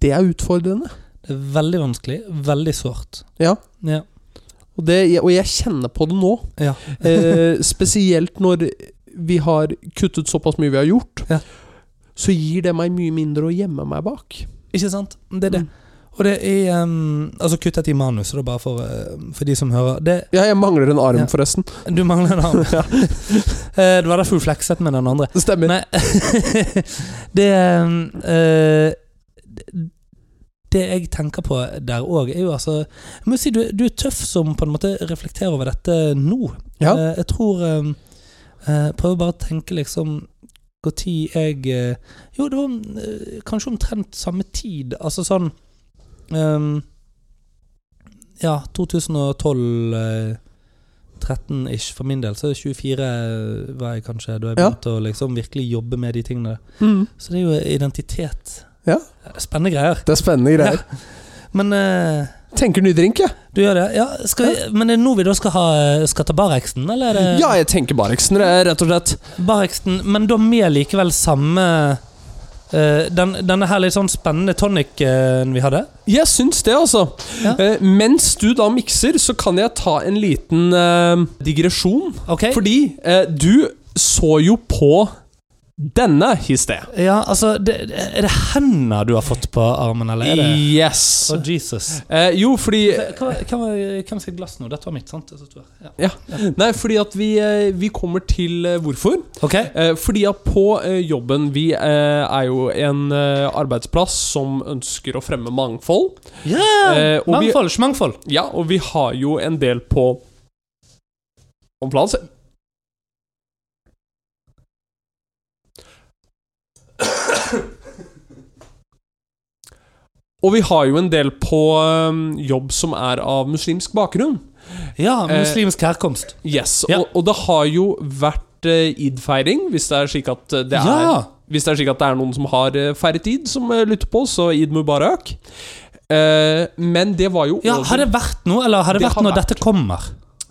Det er utfordrende.
Det er veldig vanskelig. Veldig sårt.
Ja.
Ja.
Og, det, og jeg kjenner på det nå.
Ja.
<laughs> Eh, spesielt når vi har kuttet såpass mye vi har gjort.
Ja.
Så gir det meg mye mindre å gjemme meg bak. Mm.
Ikke sant? Det er det. Og det er um, Altså, kuttet i manus, da, bare for, eh, for de som hører. Det,
Ja, jeg mangler en arm,
Ja.
forresten.
du mangler en <laughs> arm. Eh, det var derfor du flekset med den andre. <laughs>
Det stemmer.
Nei Det um, eh, det- Det jeg tenker på der òg, er jo altså Jeg må si du, du er tøff som på en måte reflekterer over dette nå.
Ja.
Eh, jeg tror um, eh, Prøver bare å tenke liksom Når jeg eh, Jo, det var eh, kanskje omtrent samme tid. Altså sånn ehm, Ja, 2012-13-ish eh, for min del. Så 24 var jeg kanskje da jeg
Ja.
begynte å liksom virkelig jobbe med de tingene.
Mm.
Så det er jo identitet. Eh,
Ja.
Spennende greier.
Det er spennende greier.
Men eh,
Tenker ny drink, jeg.
du gjør det? Ja, skal vi, Men er det nå vi da skal, ha, eh, skal ta Barreksen, eller er det
Ja, jeg tenker Bareksen,
Eh,
rett og slett.
Barreksen, men da med likevel samme eh, den, Denne her litt sånn spennende tonicen vi hadde.
Jeg syns det, altså.
Ja.
Eh, mens du da mikser, så kan jeg ta en liten eh, digresjon.
Ok?
Fordi eh, du så jo på denne i sted.
ja, altså det, det- Er det hender du har fått på armen, eller er det
Yes.
Å, Jesus.
Eh, jo, fordi
Hva, hva, hvem sitt glass nå? Dette var mitt, sant? Altså, Ja.
Nei, fordi at vi, eh, vi kommer til eh, hvorfor.
Ok?
Eh, fordi at på eh, jobben Vi eh, er jo en eh, arbeidsplass som ønsker å fremme mangfold. Eh, og vi-
mangfold, mangfold.
Ja, og vi har jo en del på Om planen se- Og vi har jo en del på øhm, jobb som er av muslimsk bakgrunn.
Ja, muslimsk herkomst.
Yes,
Ja.
og, og det har jo vært eh, id-feiring, hvis det er slik at eh, det er
Ja.
Hvis det er slik at det er noen som har eh, feiret id, som eh, lytter på, så id mubarak. Eh, men det var jo
Ja,
over-
Har det vært noe, eller har det,
Det
vært
har
når
vært.
dette kommer?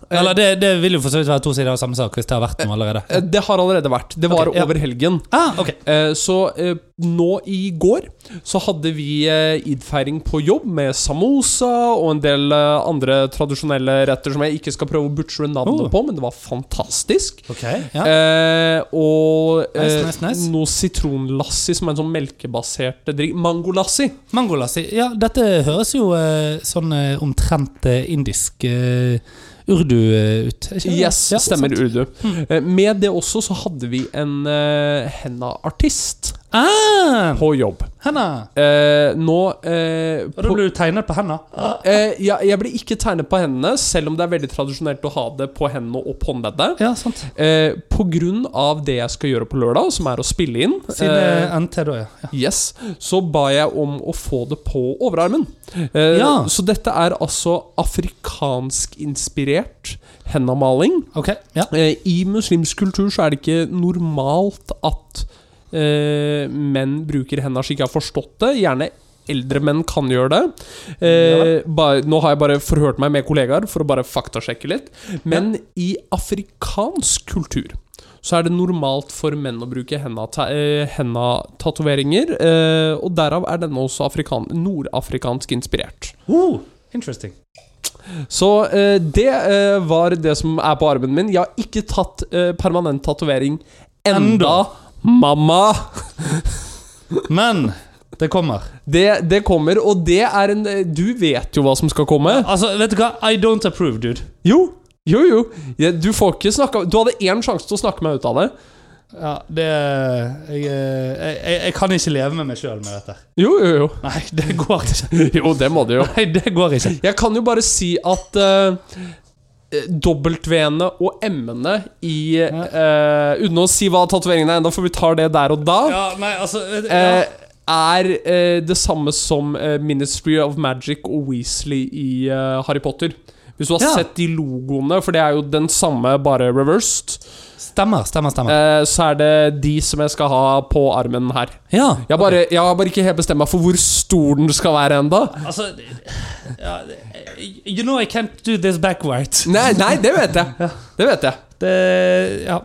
Eller det, det vil jo for så vidt være to sider av samme sak hvis det har vært noe allerede.
Eh, Det har allerede vært. Det var
Ok, ja.
over helgen.
Ah, ok.
Eh, Så eh, nå i går så hadde vi eh, id-feiring på jobb med samosa og en del eh, andre tradisjonelle retter som jeg ikke skal prøve å butchere navnet
Oh.
på, men det var fantastisk.
Ok, ja.
Eh, og eh,
Nice, nice, nice.
noe sitronlassi, som er en sånn melkebasert drikk. Mangolassi.
Mangolassi. Ja, dette høres jo eh, sånn eh, omtrent eh, indisk eh, urdu eh, ut. er ikke det?
Yes,
Ja,
stemmer
sant. Hmm.
urdu. Eh, med det også så hadde vi en eh, henna-artist
Ah,
på jobb.
henda.
Eh, nå eh,
Og da ble du tegnet på henda.
Eh, ja, jeg ble ikke tegnet på hendene, selv om det er veldig tradisjonelt å ha det på hendene og på håndleddet.
Ja, sant.
Eh, på grunn av det jeg skal gjøre på lørdag, som er å spille inn,
Siden
eh,
eh, NT, da, ja. ja.
yes, så ba jeg om å få det på overarmen. Eh,
Ja.
Så dette er altså afrikanskinspirert hendamaling.
Ok, ja.
Eh, I muslimsk kultur så er det ikke normalt at eh, menn bruker hendene slik jeg har forstått det. Gjerne eldre menn kan gjøre det. Eh, bare, nå har jeg bare forhørt meg med kollegaer for å bare faktasjekke litt. Men i afrikansk kultur så er det normalt for menn å bruke henda-tatoveringer. Eh, og derav er denne også afrikan nordafrikansk inspirert.
Oh, interesting.
Så eh, det eh, var det som er på armen min. Jeg har ikke tatt eh, permanent tatovering enda,
Enda.
mamma!
Men det kommer.
Det, det kommer, og det er en eh, Du vet jo hva som skal komme.
Altså, vet du hva? I don't approve, dude.
Jo, jo, jo. Ja, du får ikke snakka Du hadde én sjanse til å snakke meg ut av det.
Ja, det Jeg, eh, jeg, jeg kan ikke leve med meg sjøl med dette.
Jo, jo, <laughs> jo.
Nei, det går ikke.
Jo, det må du jo.
Nei, det går ikke.
Jeg kan jo bare si at eh, W-ene og M-ene i eh, Uten å si hva tatoveringene er ennå, for vi tar det der og da.
Ja, nei, altså ja.
Eh, er eh, det samme som eh, Ministry of Magic og Weasley i eh, Harry Potter. Hvis du har
Ja.
sett de logoene, for det er jo den samme, bare reversed,
Stemmer, stemmer, stemmer.
eh, så er det de som jeg skal ha på armen her.
Ja.
Jeg har bare, jeg har bare ikke helt bestemt meg for hvor stor den skal være enda
Altså ja, eh, You know I can't do this backward.
Nei, nei, det vet jeg. Det vet jeg.
Det Ja.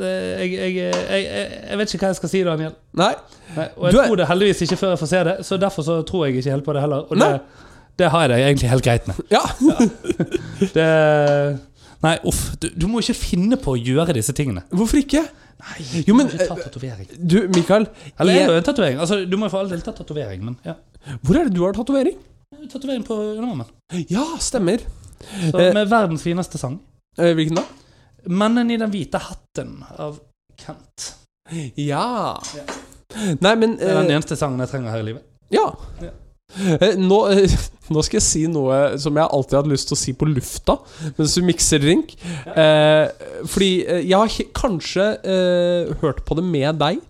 Det, jeg, jeg, jeg, jeg, jeg vet ikke hva jeg skal si, Daniel.
Nei.
Nei, og jeg
Du er-
tror det heldigvis ikke før jeg får se det, så derfor så tror jeg ikke helt på det heller. Og det,
Nei.
det har jeg det egentlig
<laughs>
helt greit med.
Ja.
Det, nei, uff. Du, du må ikke finne på å gjøre disse tingene.
Hvorfor ikke?
Nei,
Jo, men,
ikke ta tatovering.
Du, Mikael.
Eller er
Jeg,
det en tatovering? Altså, du må jo for all del ta tatovering, men ja.
hvor er det du har tatovering?
Tatovering på underarmen.
Ja, stemmer.
Så
Eh.
Med verdens fineste sang.
Eh, Hvilken da?
'Mannen i den hvite hatten' av Kent.
Ja.
Ja.
Nei, men
Det er den
eh,
eneste sangen jeg trenger her i livet.
Ja.
Ja.
Eh, Nå, <laughs> eh, nå skal jeg si noe som jeg alltid har hatt lyst til å si på lufta mens vi mikser drink. Eh, fordi eh, jeg har he- kanskje eh, hørt på det med deg.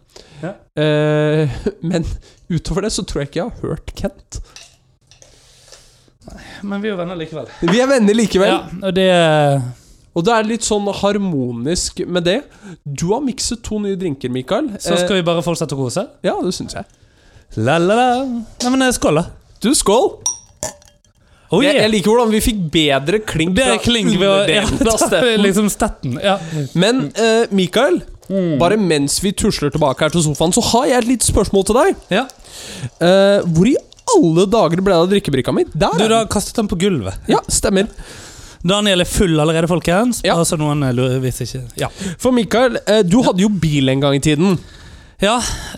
Ja.
Eh, <laughs> men utover det så tror jeg ikke jeg har hørt Kent.
Men vi er jo venner likevel.
Vi er venner likevel.
Ja, og det
Og det er litt sånn harmonisk med det. Du har mikset to nye drinker, Mikael.
Så skal vi bare fortsette å kose.
eh, ja, det syns jeg.
Eh, La, la, la. Nei, men eh, skål, da.
Du, skål!
Oh,
jeg,
yeah.
jeg liker hvordan vi fikk bedre klink
Det er
fra
klink ved å <laughs> ja,
underdelen av
ta
steppen.
liksom stetten. Ja.
Men eh, Mikael, bare mens vi tusler tilbake her til sofaen, så har jeg et lite spørsmål til deg.
ja.
Eh, hvor i alle dager ble det av drikkebrikka mi? Der!
Du,
er
du
den.
har kastet den på gulvet.
Ja, stemmer.
Daniel er full allerede, folkens.
Ja.
Altså noen eh, lurer hvis ikke Ja.
For Mikael, eh, du hadde jo bil en gang i tiden.
Ja,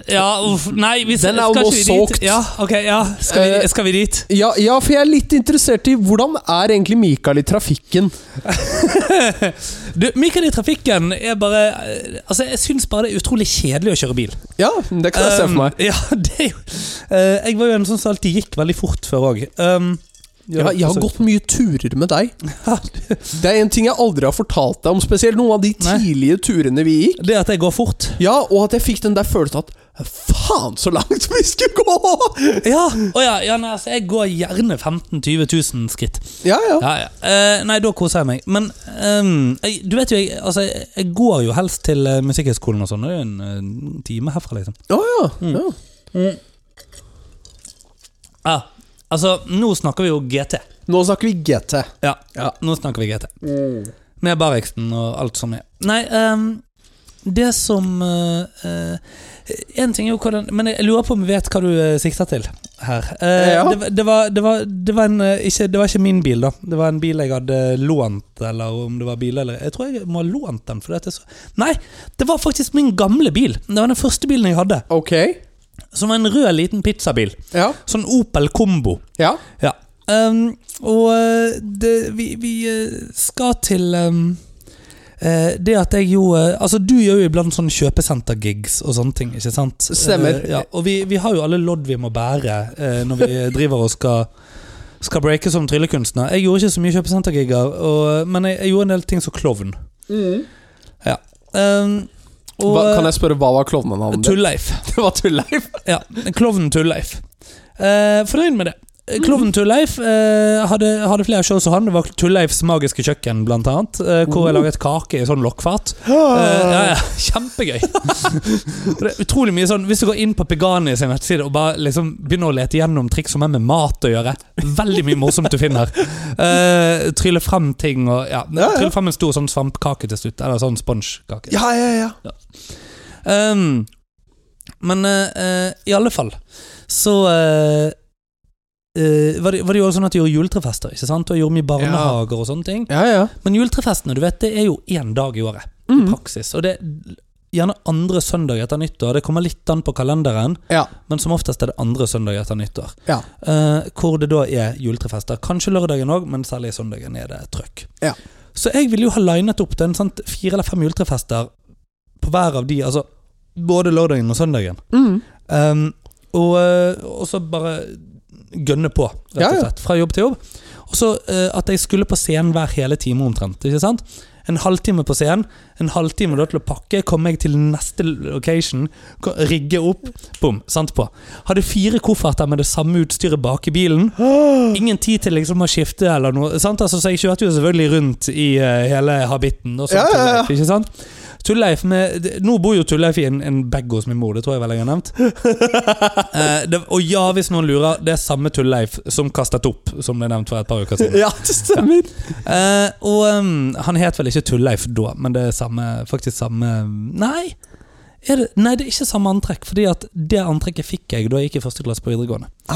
ja uff. Nei, vi
Den er
skal ikke vi
almost
dit?
solgt.
Ja, ok, ja. Skal
Eh.
vi, skal vi dit?
Ja, ja, for jeg er litt interessert i hvordan er egentlig Mikael i trafikken?
Du, Mikael i trafikken er bare eh, Altså, jeg syns bare det er utrolig kjedelig å kjøre bil.
Ja, det kan jeg se for meg.
Um, ja, <laughs> det er jo Eh, Jeg var jo en sånn som alltid gikk veldig fort før òg. Um, <laughs>
Jeg, har- jeg har gått mye turer med deg. Det er en ting jeg aldri har fortalt deg om, spesielt noen av de
Nei.
tidlige turene vi gikk.
Det at jeg går fort
Ja, og at jeg fikk den der følelsen at Faen, så langt vi skulle gå!
Ja, Å ja, ja nei, altså, jeg går gjerne 15 000-20 000 skritt.
Ja, ja.
Ja, ja. Eh, nei, da koser jeg meg. Men ehm, jeg, du vet jo, jeg, altså, jeg jeg går jo helst til eh, Musikkhøgskolen og sånn. Det er jo en eh, time herfra, liksom.
Å ja. ja.
Ja, altså, nå snakker vi jo GT.
Nå snakker vi GT.
Ja,
Ja. Mm.
nå snakker vi GT. Med Barriksen og alt som er. Nei, ehm, det som eh, eh, En ting er jo hvordan Men jeg lurer på om vi vet hva du eh, sikter til her. Eh,
Ja.
det, var- det, var, det, var, det, var en, eh, ikke, det var ikke min bil, da. Det var en bil jeg hadde lånt, eller om det var bil eller Jeg tror jeg må ha lånt den. For det så, nei, det var faktisk min gamle bil. Det var den første bilen jeg hadde.
Ok.
Som var en rød, liten pizzabil.
Ja.
Sånn Opel Combo.
Ja.
Ja. Ehm, og eh, det, vi, vi eh, skal til ehm, eh, det at jeg jo eh, Altså, du gjør jo iblant sånn kjøpesenter-gigs og sånne ting, ikke sant?
Stemmer.
Eh, ja, og vi, vi har jo alle lodd vi må bære eh,
<laughs>
når vi driver og skal skal breake som tryllekunstner. Jeg gjorde ikke så mye kjøpesentergigger, og- eh, men jeg, jeg gjorde en del ting som klovn.
Mm.
Ja. Ehm, og eh,
Hva, kan jeg spørre hva var klovnenavnet ditt?
Tulleif.
<laughs> Det var Tulleif.
Ja, Klovnen Tulleif. Uh, fornøyd med det. Klovnen Tulleif eh, hadde, hadde flere show som han. Det var Tulleifs Magiske Kjøkken, blant annet. eh, hvor jeg laget kake i sånn lokkfat.
Ah.
Eh, ja, ja, kjempegøy. Og det er utrolig mye sånn Hvis du går inn på Pegani sin nettside og bare liksom begynner å lete gjennom triks som er med mat å gjøre, veldig mye morsomt du finner. Uh, trylle frem ting og ja,
Ja, ja.
Trylle frem en stor sånn svampkake til slutt. Eller sånn sponskake.
ja, ja, ja.
Ehm, men eh, eh, i alle fall så eh, eh, var, det, var det jo også sånn at de gjorde juletrefester, ikke sant? Og jeg gjorde mye barnehager og sånne ting.
Ja, ja.
Men juletrefestene, du vet, det er jo én dag i året, i
Mhm.
praksis. Og det er gjerne andre søndag etter nyttår. Det kommer litt an på kalenderen,
Ja.
men som oftest er det andre søndag etter nyttår.
Ja.
Eh, hvor det da er juletrefester. Kanskje lørdagen òg, men særlig søndagen er det trøkk.
Ja.
Så jeg ville jo ha linet opp til en sant, fire eller fem juletrefester på hver av de, altså både lørdagen og søndagen.
Mm.
Ehm, og, eh, og så bare gønne på, rett
Ja,
og
ja.
slett. Fra jobb til jobb. Og så eh, at jeg skulle på scenen hver hele time omtrent. ikke sant? En halvtime på scenen, en halvtime da til å pakke, komme meg til neste location, ko- rigge opp, bom, sant på. Hadde fire kofferter med det samme utstyret bak i bilen.
<gasps>
Ingen tid til liksom å skifte eller noe. Sant? Altså, så jeg kjørte jo selvfølgelig rundt i eh, hele habitten. Og sånt,
Ja, ja, ja.
til Leif, Ikke sant? Tulleif med, d- nå bor jo Tulleif i en, en bag hos min mor, det tror jeg vel jeg har nevnt. Eh, det, og ja, hvis noen lurer, det er samme Tulleif som kastet opp, som ble nevnt for et par uker siden.
Ja, det stemmer.
Eh, og ehm, han het vel ikke Tulleif da, men det er samme, faktisk samme Nei! Er det, nei, det er ikke samme antrekk, fordi at det antrekket fikk jeg da jeg gikk i første klasse på videregående. Så,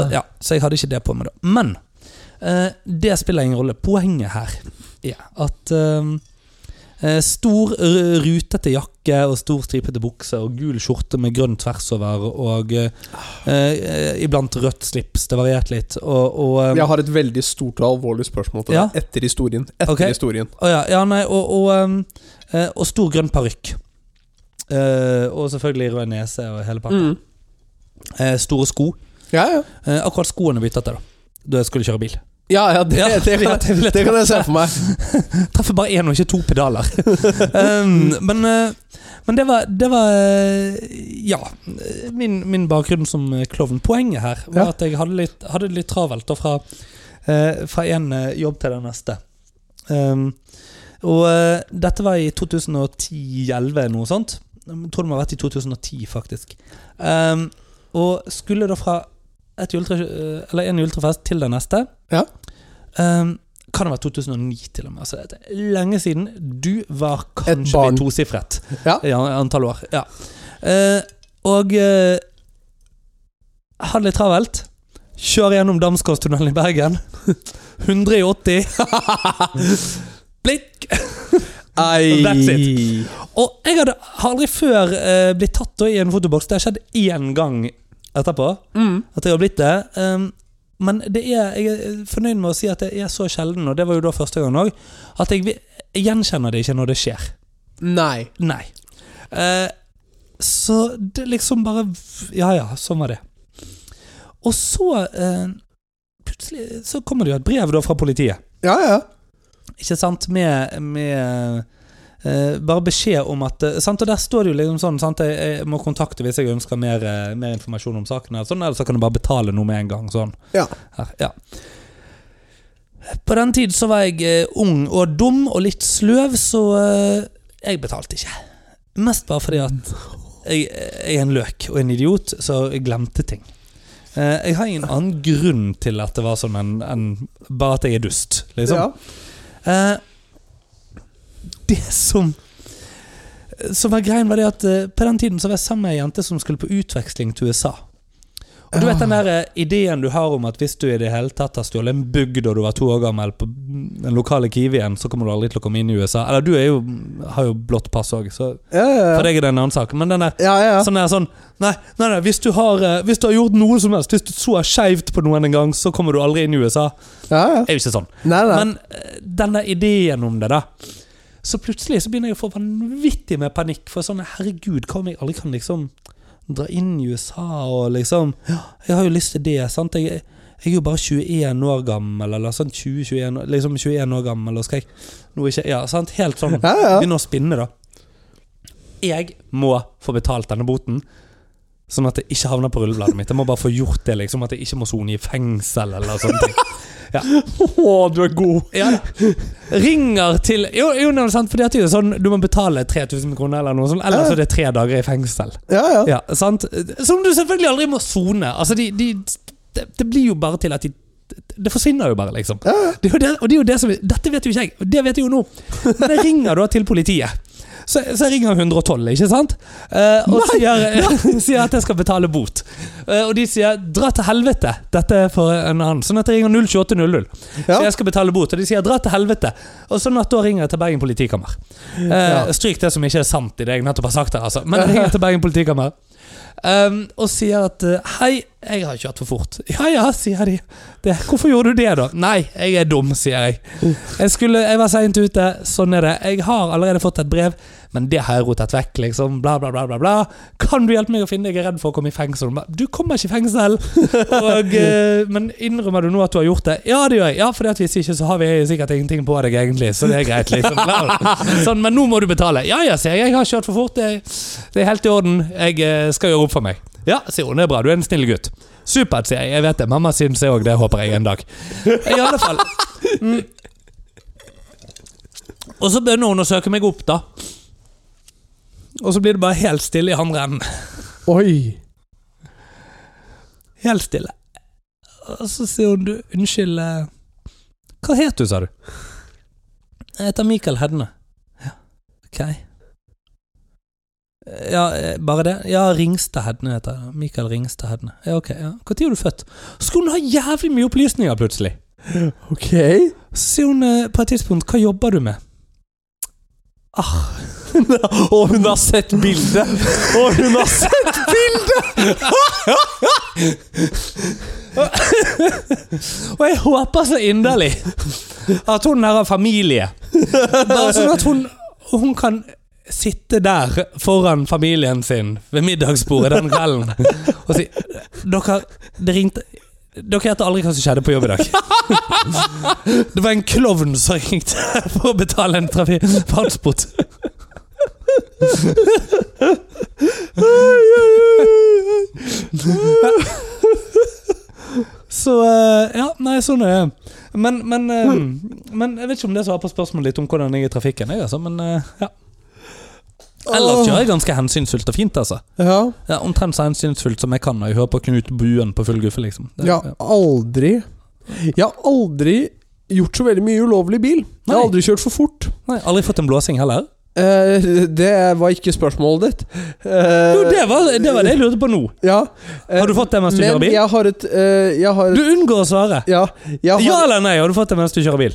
Ah.
ja, så jeg hadde ikke det på meg da. Men eh, det spiller ingen rolle. Poenget her er at ehm, eh, stor r- rutete jakke og stor stripete bukse og gul skjorte med grønn tvers over og eh, eh, iblant rødt slips. Det varierte litt. Og, og, ehm,
um, Jeg har et veldig stort og alvorlig spørsmål til deg
Ja.
etter historien. Etter
Ok.
historien.
Å ja, ja, nei, og, og, um, eh, og stor grønn parykk. Eh, og selvfølgelig rød nese og hele pakka.
Mm.
Eh, store sko.
Ja, ja.
Eh, akkurat skoene byttet jeg, da. Da jeg skulle kjøre bil.
Ja, ja, det,
Ja,
det, kan,
<laughs> ja, det vil
jeg,
jeg
det
tro.
kan jeg se for meg.
Treffer bare én og ikke to pedaler. <laughs> um, men eh, men det, var, det var eh, Ja. eh, Min, min bakgrunn som eh, klovn. Poenget her var
Ja.
at jeg hadde, litt, hadde det litt travelt da, fra eh, fra én jobb til den neste. Um, og eh, dette var i 2010-11, noe sånt. Jeg tror det må ha vært i 2010, faktisk. Um, og skulle da fra et juletre, eh, eller en juletrefest til den neste.
Ja.
Um, kan det være 2009 til og med? Altså, det er lenge siden. Du var
Et
kanskje
barn.
i tosifret
Ja.
i an- antall år. Ja. Eh, og eh, hadde litt travelt. Kjør gjennom Damsgårdstunnelen i Bergen. <laughs> 180. Blikk!
Ei.
That's Og jeg hadde, har aldri før eh, blitt tatt da i en fotoboks. Det har skjedd én gang etterpå.
Mm.
At jeg har blitt det. Um, men det er, jeg er fornøyd med å si at det er så sjelden, og det var jo da første gang òg, at jeg, vi- jeg gjenkjenner det ikke når det skjer.
Nei.
Nei. Eh, så det liksom bare Ja ja, sånn var det. Og så eh, Plutselig så kommer det jo et brev da fra politiet.
Ja, ja.
Ikke sant? Med, med eh, bare beskjed om at eh, sant? Og der står det jo liksom sånn sant? Jeg, jeg må kontakte hvis jeg ønsker mer, eh, mer informasjon om saken. Eller, sånn, eller så kan du bare betale noe med en gang. Sånn.
Ja.
Her, ja. På den tid så var jeg eh, ung og dum og litt sløv, så eh, jeg betalte ikke. Mest bare fordi at jeg, jeg er en løk og en idiot, så jeg glemte ting. Eh, jeg har ingen annen grunn til at det var sånn enn enn bare at jeg er dust, liksom.
ja.
Eh, det som Som var greien, var det at eh, på den tiden så var jeg sammen med ei jente som skulle på utveksling til USA. Og du vet den der eh, ideen du har om at hvis du i det hele tatt har stjålet en bugg da du var to år gammel på den lokale Kiwien, så kommer du aldri til å komme inn i USA. Eller du er jo, har jo blått pass òg, så
Ja, ja,
for deg er det en annen sak. Men den der
ja. ja, ja.
Sånn der, sånn, nei, nei, nei hvis, du har, eh, hvis du har gjort noe som helst, hvis du så skeivt på noen en gang, så kommer du aldri inn i USA.
ja, ja.
Det er jo ikke sånn.
Nei, nei.
Men eh, den der ideen om det, da. Så plutselig så begynner jeg å få vanvittig med panikk. For sånn, herregud, hva om jeg aldri kan liksom dra inn i USA og liksom ja, Jeg har jo lyst til det, sant? Jeg, jeg er jo bare 21 år gammel, eller sånn 20-21 år- liksom 21 år gammel, og skal jeg nå ikke Ja, sant? Helt sånn.
Ja, ja.
Begynner å spinne, da. Jeg må få betalt denne boten. Sånn at det ikke havner på rullebladet mitt. Jeg må bare få gjort det, liksom. At jeg ikke må sone i fengsel eller sånne ting.
<laughs> Å, du er god.
Ja. Ringer til Jo, jo nei, sant, for det er jo sånn du må betale 3000 kroner eller noe sånt, ellers er det tre dager i fengsel.
Ja, ja.
Ja, sant? Som du selvfølgelig aldri må sone. Altså, de, de, det, det blir jo bare til at de det forsvinner jo bare, liksom. Det er jo det, og det er jo det som, dette vet jo ikke jeg, og det vet jeg jo nå. Men jeg ringer da til politiet. Så, så jeg ringer 112, ikke sant? Eh, og sier, <laughs> sier at jeg skal betale bot. Eh, og de sier 'dra til helvete'. Dette er for en annen. Sånn at jeg ringer 02800.
Ja.
Så jeg skal betale bot, og de sier 'dra til helvete'. Og sånn at da ringer jeg til Bergen politikammer. Eh,
Ja.
Stryk det som ikke er sant i det jeg nettopp har sagt her, altså. Men jeg ringer til Bergen politikammer um, og sier at eh, 'hei, jeg har kjørt for fort'. <laughs> 'Ja ja', sier de. Det, 'Hvorfor gjorde du det, da?' 'Nei, jeg er dum', sier jeg. Jeg, skulle, jeg var seint ute. Sånn er det. Jeg har allerede fått et brev Men det har jeg rotet vekk, liksom. Bla, bla, bla, bla, bla. Kan du hjelpe meg å finne deg? Jeg er redd for å komme i fengsel. Hun ba, Du kommer ikke i fengsel! Og, eh, men innrømmer du nå at du har gjort det? Ja, det gjør jeg. Ja, fordi at hvis ikke, så har vi sikkert ingenting på deg, egentlig. Så det er greit, liksom. Bla. Sånn, men nå må du betale. Ja, ja, sier jeg. Jeg har kjørt for fort. Det, det er helt i orden. Jeg eh, skal gjøre opp for meg. Ja, sier hun. Det er bra. Du er en snill gutt. Supert, sier jeg. Jeg vet det. Mamma syns jeg òg det, håper jeg en dag. I alle fall. Mm. Og så begynner hun å søke meg opp, da. Og så blir det bare helt stille i andre enden.
Oi!
Helt stille. Og så sier hun du, unnskyld eh, Hva het du, sa du? Jeg heter Mikael Hedne. Ja, ok. Ja, eh, bare det? Ja, Ringstad Hedne heter jeg. Mikael Ringstad Hedne. Ja, ok. ja. Når var du født? Skulle hun ha jævlig mye opplysninger, plutselig?
Ok.
Så sier hun eh, på et tidspunkt Hva jobber du med? Ah,
Og hun har sett bildet! Og hun har sett
<laughs> Og jeg håper så inderlig at hun her har familie. Bare sånn at hun, hun kan sitte der foran familien sin ved middagsbordet den kvelden og si Dere, det ringte dere gjetter aldri hva som skjedde på jobb i dag. <laughs> Det var en klovn som ringte for å betale en trafi- fartsbot. Så eh, Ja, nei, sånn er det. Men, men, eh, men jeg vet ikke om det svarer på spørsmålet litt om hvordan jeg er i trafikken. Jeg, altså, men eh, ja. Ellers kjører jeg ganske hensynsfullt og fint, altså.
Ja.
Ja, Omtrent så hensynsfullt som jeg kan når jeg hører på Knut Buen på full guffe, liksom. Det-
Jeg har aldri Jeg har aldri gjort så veldig mye ulovlig i bil. Jeg har
Nei.
aldri kjørt for fort.
Nei, Aldri fått en blåsing heller?
Eh, det var ikke spørsmålet ditt. Eh,
Jo, det var, det var det jeg lurte på nå.
Ja.
Har du fått det mens du kjører
Men
bil?
jeg har et eh, Jeg har
Du
et
unngår å svare.
ja, jeg har,
Ja eller nei, har du fått det mens du kjører bil?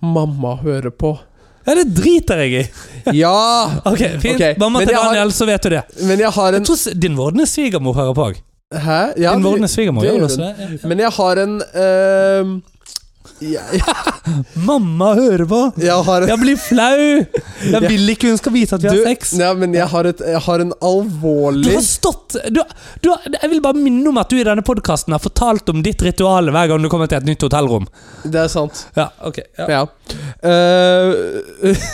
Mamma hører på.
Ja, det driter jeg i.
Ja!
Ok, fint.
Ok,
Mamma
men
til
jeg har- Mm.
Daniel, så vet du det.
Men jeg har
Jeg
en
tror s- din vordende svigermor hører på òg.
Hæ? Ja, altså.
Din vordende
det-
svigermor
det
gjør
gjør
også
hun.
det. Ja.
men jeg har en eh, jeg,
Mamma hører på!
jeg har en
Jeg blir flau! Jeg vil ikke hun skal vite at vi har
Du,
sex.
Nei, men jeg har, et, jeg har en
Du
alvorlig
har stått du, du, Jeg vil bare minne om at du i denne podkasten har fortalt om ditt ritual hver gang du kommer til et nytt hotellrom.
Det er sant.
Ja, ok ja.
Ja. Eh, <laughs>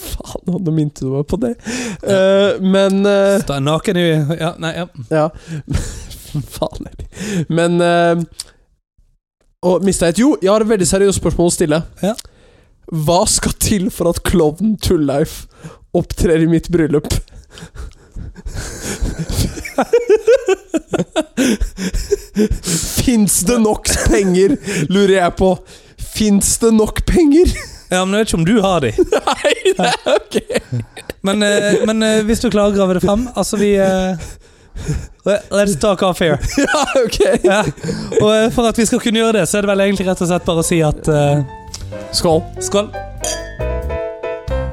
Faen, nå minte du meg på det. Eh, men eh,
Stå naken i ja, Nei, ja.
Ja. <laughs> Faen heller. Men eh, Og mista jeg et Jo, jeg har et veldig seriøst spørsmål å stille.
Ja.
Hva skal til for at klovnen Tulleif opptrer i mitt bryllup? Fins det nok penger, lurer jeg på. Fins det nok penger? <laughs>
ja, men jeg vet ikke om du har de.
Nei, det er ok.
Men, eh, men eh, hvis du klarer å grave det fram Altså, vi eh, let- Let's talk off here.
Ja, <laughs> ok.
Ja. Og eh, for at vi skal kunne gjøre det, så er det vel egentlig rett og slett bare å si at eh,
Skål.
Skål.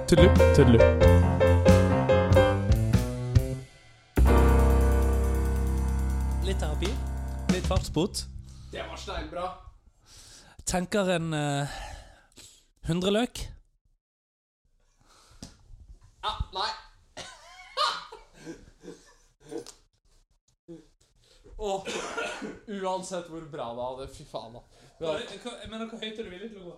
Tudelu. Tudelu.
Litt terapi. Litt fartsbot.
Det var steinbra.
Tenker en eh, hundreløk.
Ja, nei. <laughs> Åh, uansett hvor bra det hadde, fy faen da.
Men hvor høyt er du villig til å gå?